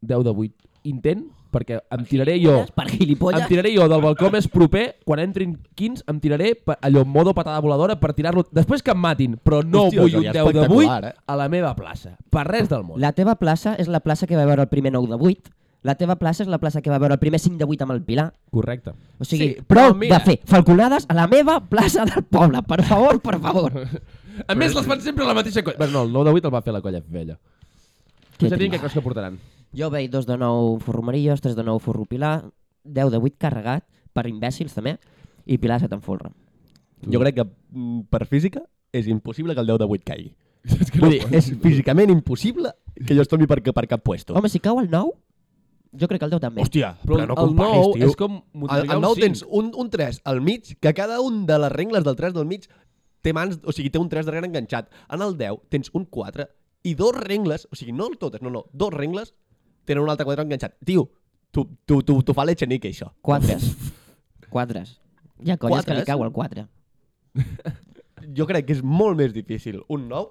[SPEAKER 1] 10 de 8 intent, perquè em tiraré jo...
[SPEAKER 2] Per gilipolles.
[SPEAKER 1] Em tiraré jo del balcó més proper, quan entrin 15, em tiraré per, allò en modo patada voladora per tirar-lo... Després que em matin, però no Hòstia,
[SPEAKER 3] Hòstia,
[SPEAKER 1] vull un
[SPEAKER 3] seria
[SPEAKER 1] 10 de 8
[SPEAKER 3] espectacular,
[SPEAKER 1] eh?
[SPEAKER 3] eh?
[SPEAKER 1] a la meva plaça. Per res del món.
[SPEAKER 2] La teva plaça és la plaça que va veure el primer 9 de 8. La teva plaça és la plaça que va veure el primer 5 de 8 amb el Pilar.
[SPEAKER 1] Correcte.
[SPEAKER 2] O sigui,
[SPEAKER 1] Sí,
[SPEAKER 2] sí, prou
[SPEAKER 1] però mira-
[SPEAKER 2] de fer falconades a la meva plaça del poble. Per favor, per favor.
[SPEAKER 1] A més, les fan sempre a la mateixa colla. Bueno, no, el 9 de 8 el va fer la colla vella.
[SPEAKER 2] Que
[SPEAKER 1] Ja tinc
[SPEAKER 2] trist.
[SPEAKER 1] que creus que portaran.
[SPEAKER 2] Jo veig 2 de 9 forro Marillos, 3 de 9 forro Pilar, 10 de 8 carregat, per imbècils també, i Pilar 7 en folre.
[SPEAKER 3] Jo crec que mm, per física és impossible que el 10 de 8 caigui. Vull dir, és físicament impossible que jo es tombi per, per cap puesto.
[SPEAKER 2] Home, si cau el 9, jo crec que el 10 també.
[SPEAKER 3] Hòstia, però, no
[SPEAKER 1] el
[SPEAKER 3] comparis,
[SPEAKER 1] 9
[SPEAKER 3] tio.
[SPEAKER 1] és com
[SPEAKER 3] El,
[SPEAKER 1] multiplicar
[SPEAKER 3] el
[SPEAKER 1] un
[SPEAKER 3] 9
[SPEAKER 1] cinc.
[SPEAKER 3] tens un, un 3 al mig, que cada un de les rengles del 3 del mig té mans, o sigui, té un 3 darrere enganxat. En el 10 tens un 4 i dos rengles, o sigui, no totes, no, no, dos rengles tenen un altre 4 enganxat. Tio, tu, tu, tu, tu fa l'Echenique, això.
[SPEAKER 2] Quadres. Quadres. Hi ha colles que li
[SPEAKER 3] Quadres?
[SPEAKER 2] cau el 4.
[SPEAKER 3] Jo crec que és molt més difícil un 9,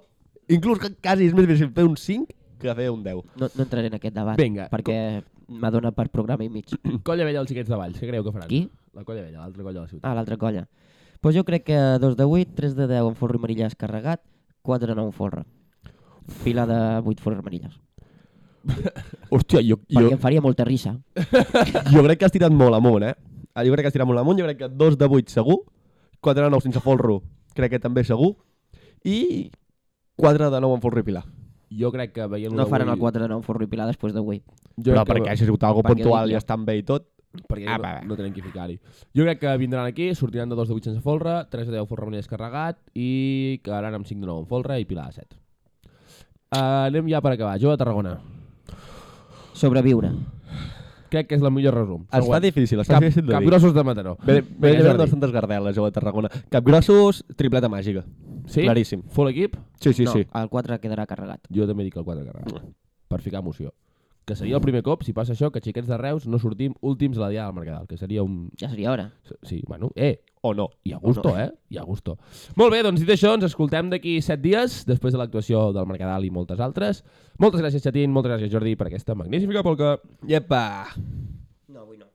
[SPEAKER 3] inclús que quasi és més difícil fer un 5 que fer un 10.
[SPEAKER 2] No, no entraré en aquest debat,
[SPEAKER 1] Vinga,
[SPEAKER 2] perquè m'adona per programa i mig.
[SPEAKER 1] Colla vella dels xiquets de Valls, què creieu que faran?
[SPEAKER 2] Qui?
[SPEAKER 1] La colla vella, l'altra colla de la ciutat.
[SPEAKER 2] Ah, l'altra colla. Pues jo crec que 2 de 8, 3 de 10 en forro i marillàs carregat, 4 de 9 forra. Fila de 8 forres marillàs.
[SPEAKER 3] Hòstia, jo,
[SPEAKER 2] Perquè
[SPEAKER 3] jo,
[SPEAKER 2] em faria molta risa.
[SPEAKER 3] jo crec que has tirat molt amunt, eh? Ah, Jo crec que has tirat molt amunt, jo crec que 2 de 8 segur, 4 de 9 sense folro crec que també segur, i 4 de 9 amb folro i pilar.
[SPEAKER 1] Jo crec que veient
[SPEAKER 2] No faran el 4 de 9 forro i pilar després d'avui.
[SPEAKER 1] Jo
[SPEAKER 3] Però
[SPEAKER 1] crec que-
[SPEAKER 3] perquè hagi sigut algo
[SPEAKER 2] perquè
[SPEAKER 3] puntual
[SPEAKER 2] dic
[SPEAKER 3] i
[SPEAKER 2] jo.
[SPEAKER 3] està bé i tot,
[SPEAKER 1] perquè
[SPEAKER 3] Ah,
[SPEAKER 1] no,
[SPEAKER 3] va, va.
[SPEAKER 1] no tenen qui ficar-hi. Jo crec que vindran aquí, sortiran de 2 de 8 sense folre, 3 de 10 folre amb descarregat i quedaran amb 5 de 9 en folre i Pilar de 7. Uh, anem ja per acabar. Jo a Tarragona.
[SPEAKER 2] Sobreviure.
[SPEAKER 1] Crec que és el millor resum.
[SPEAKER 3] està
[SPEAKER 1] Següent.
[SPEAKER 3] difícil, està
[SPEAKER 1] Cap,
[SPEAKER 3] difícil de
[SPEAKER 1] cap
[SPEAKER 3] dir.
[SPEAKER 1] grossos de Mataró.
[SPEAKER 3] Ve, ve,
[SPEAKER 1] Vinga,
[SPEAKER 3] ve
[SPEAKER 1] Jordi.
[SPEAKER 3] bastantes gardeles, jo, a Tarragona. Capgrossos, tripleta màgica.
[SPEAKER 1] Sí?
[SPEAKER 3] Claríssim.
[SPEAKER 1] Full equip?
[SPEAKER 3] Sí, sí,
[SPEAKER 2] no,
[SPEAKER 3] sí.
[SPEAKER 2] el 4 quedarà carregat.
[SPEAKER 1] Jo també dic el 4 carregat. Per ficar emoció. Que seria el primer cop, si passa això, que xiquets de Reus no sortim últims a la diada del Mercadal, que seria un...
[SPEAKER 2] Ja seria hora.
[SPEAKER 1] Sí, bueno, eh,
[SPEAKER 3] O no.
[SPEAKER 1] i a gusto, eh? I a gusto. Molt bé, doncs dit això, ens escoltem d'aquí set dies, després de l'actuació del Mercadal i moltes altres. Moltes gràcies, Xatín, moltes gràcies, Jordi, per aquesta magnífica polca.
[SPEAKER 3] Iepa!
[SPEAKER 2] No, avui no.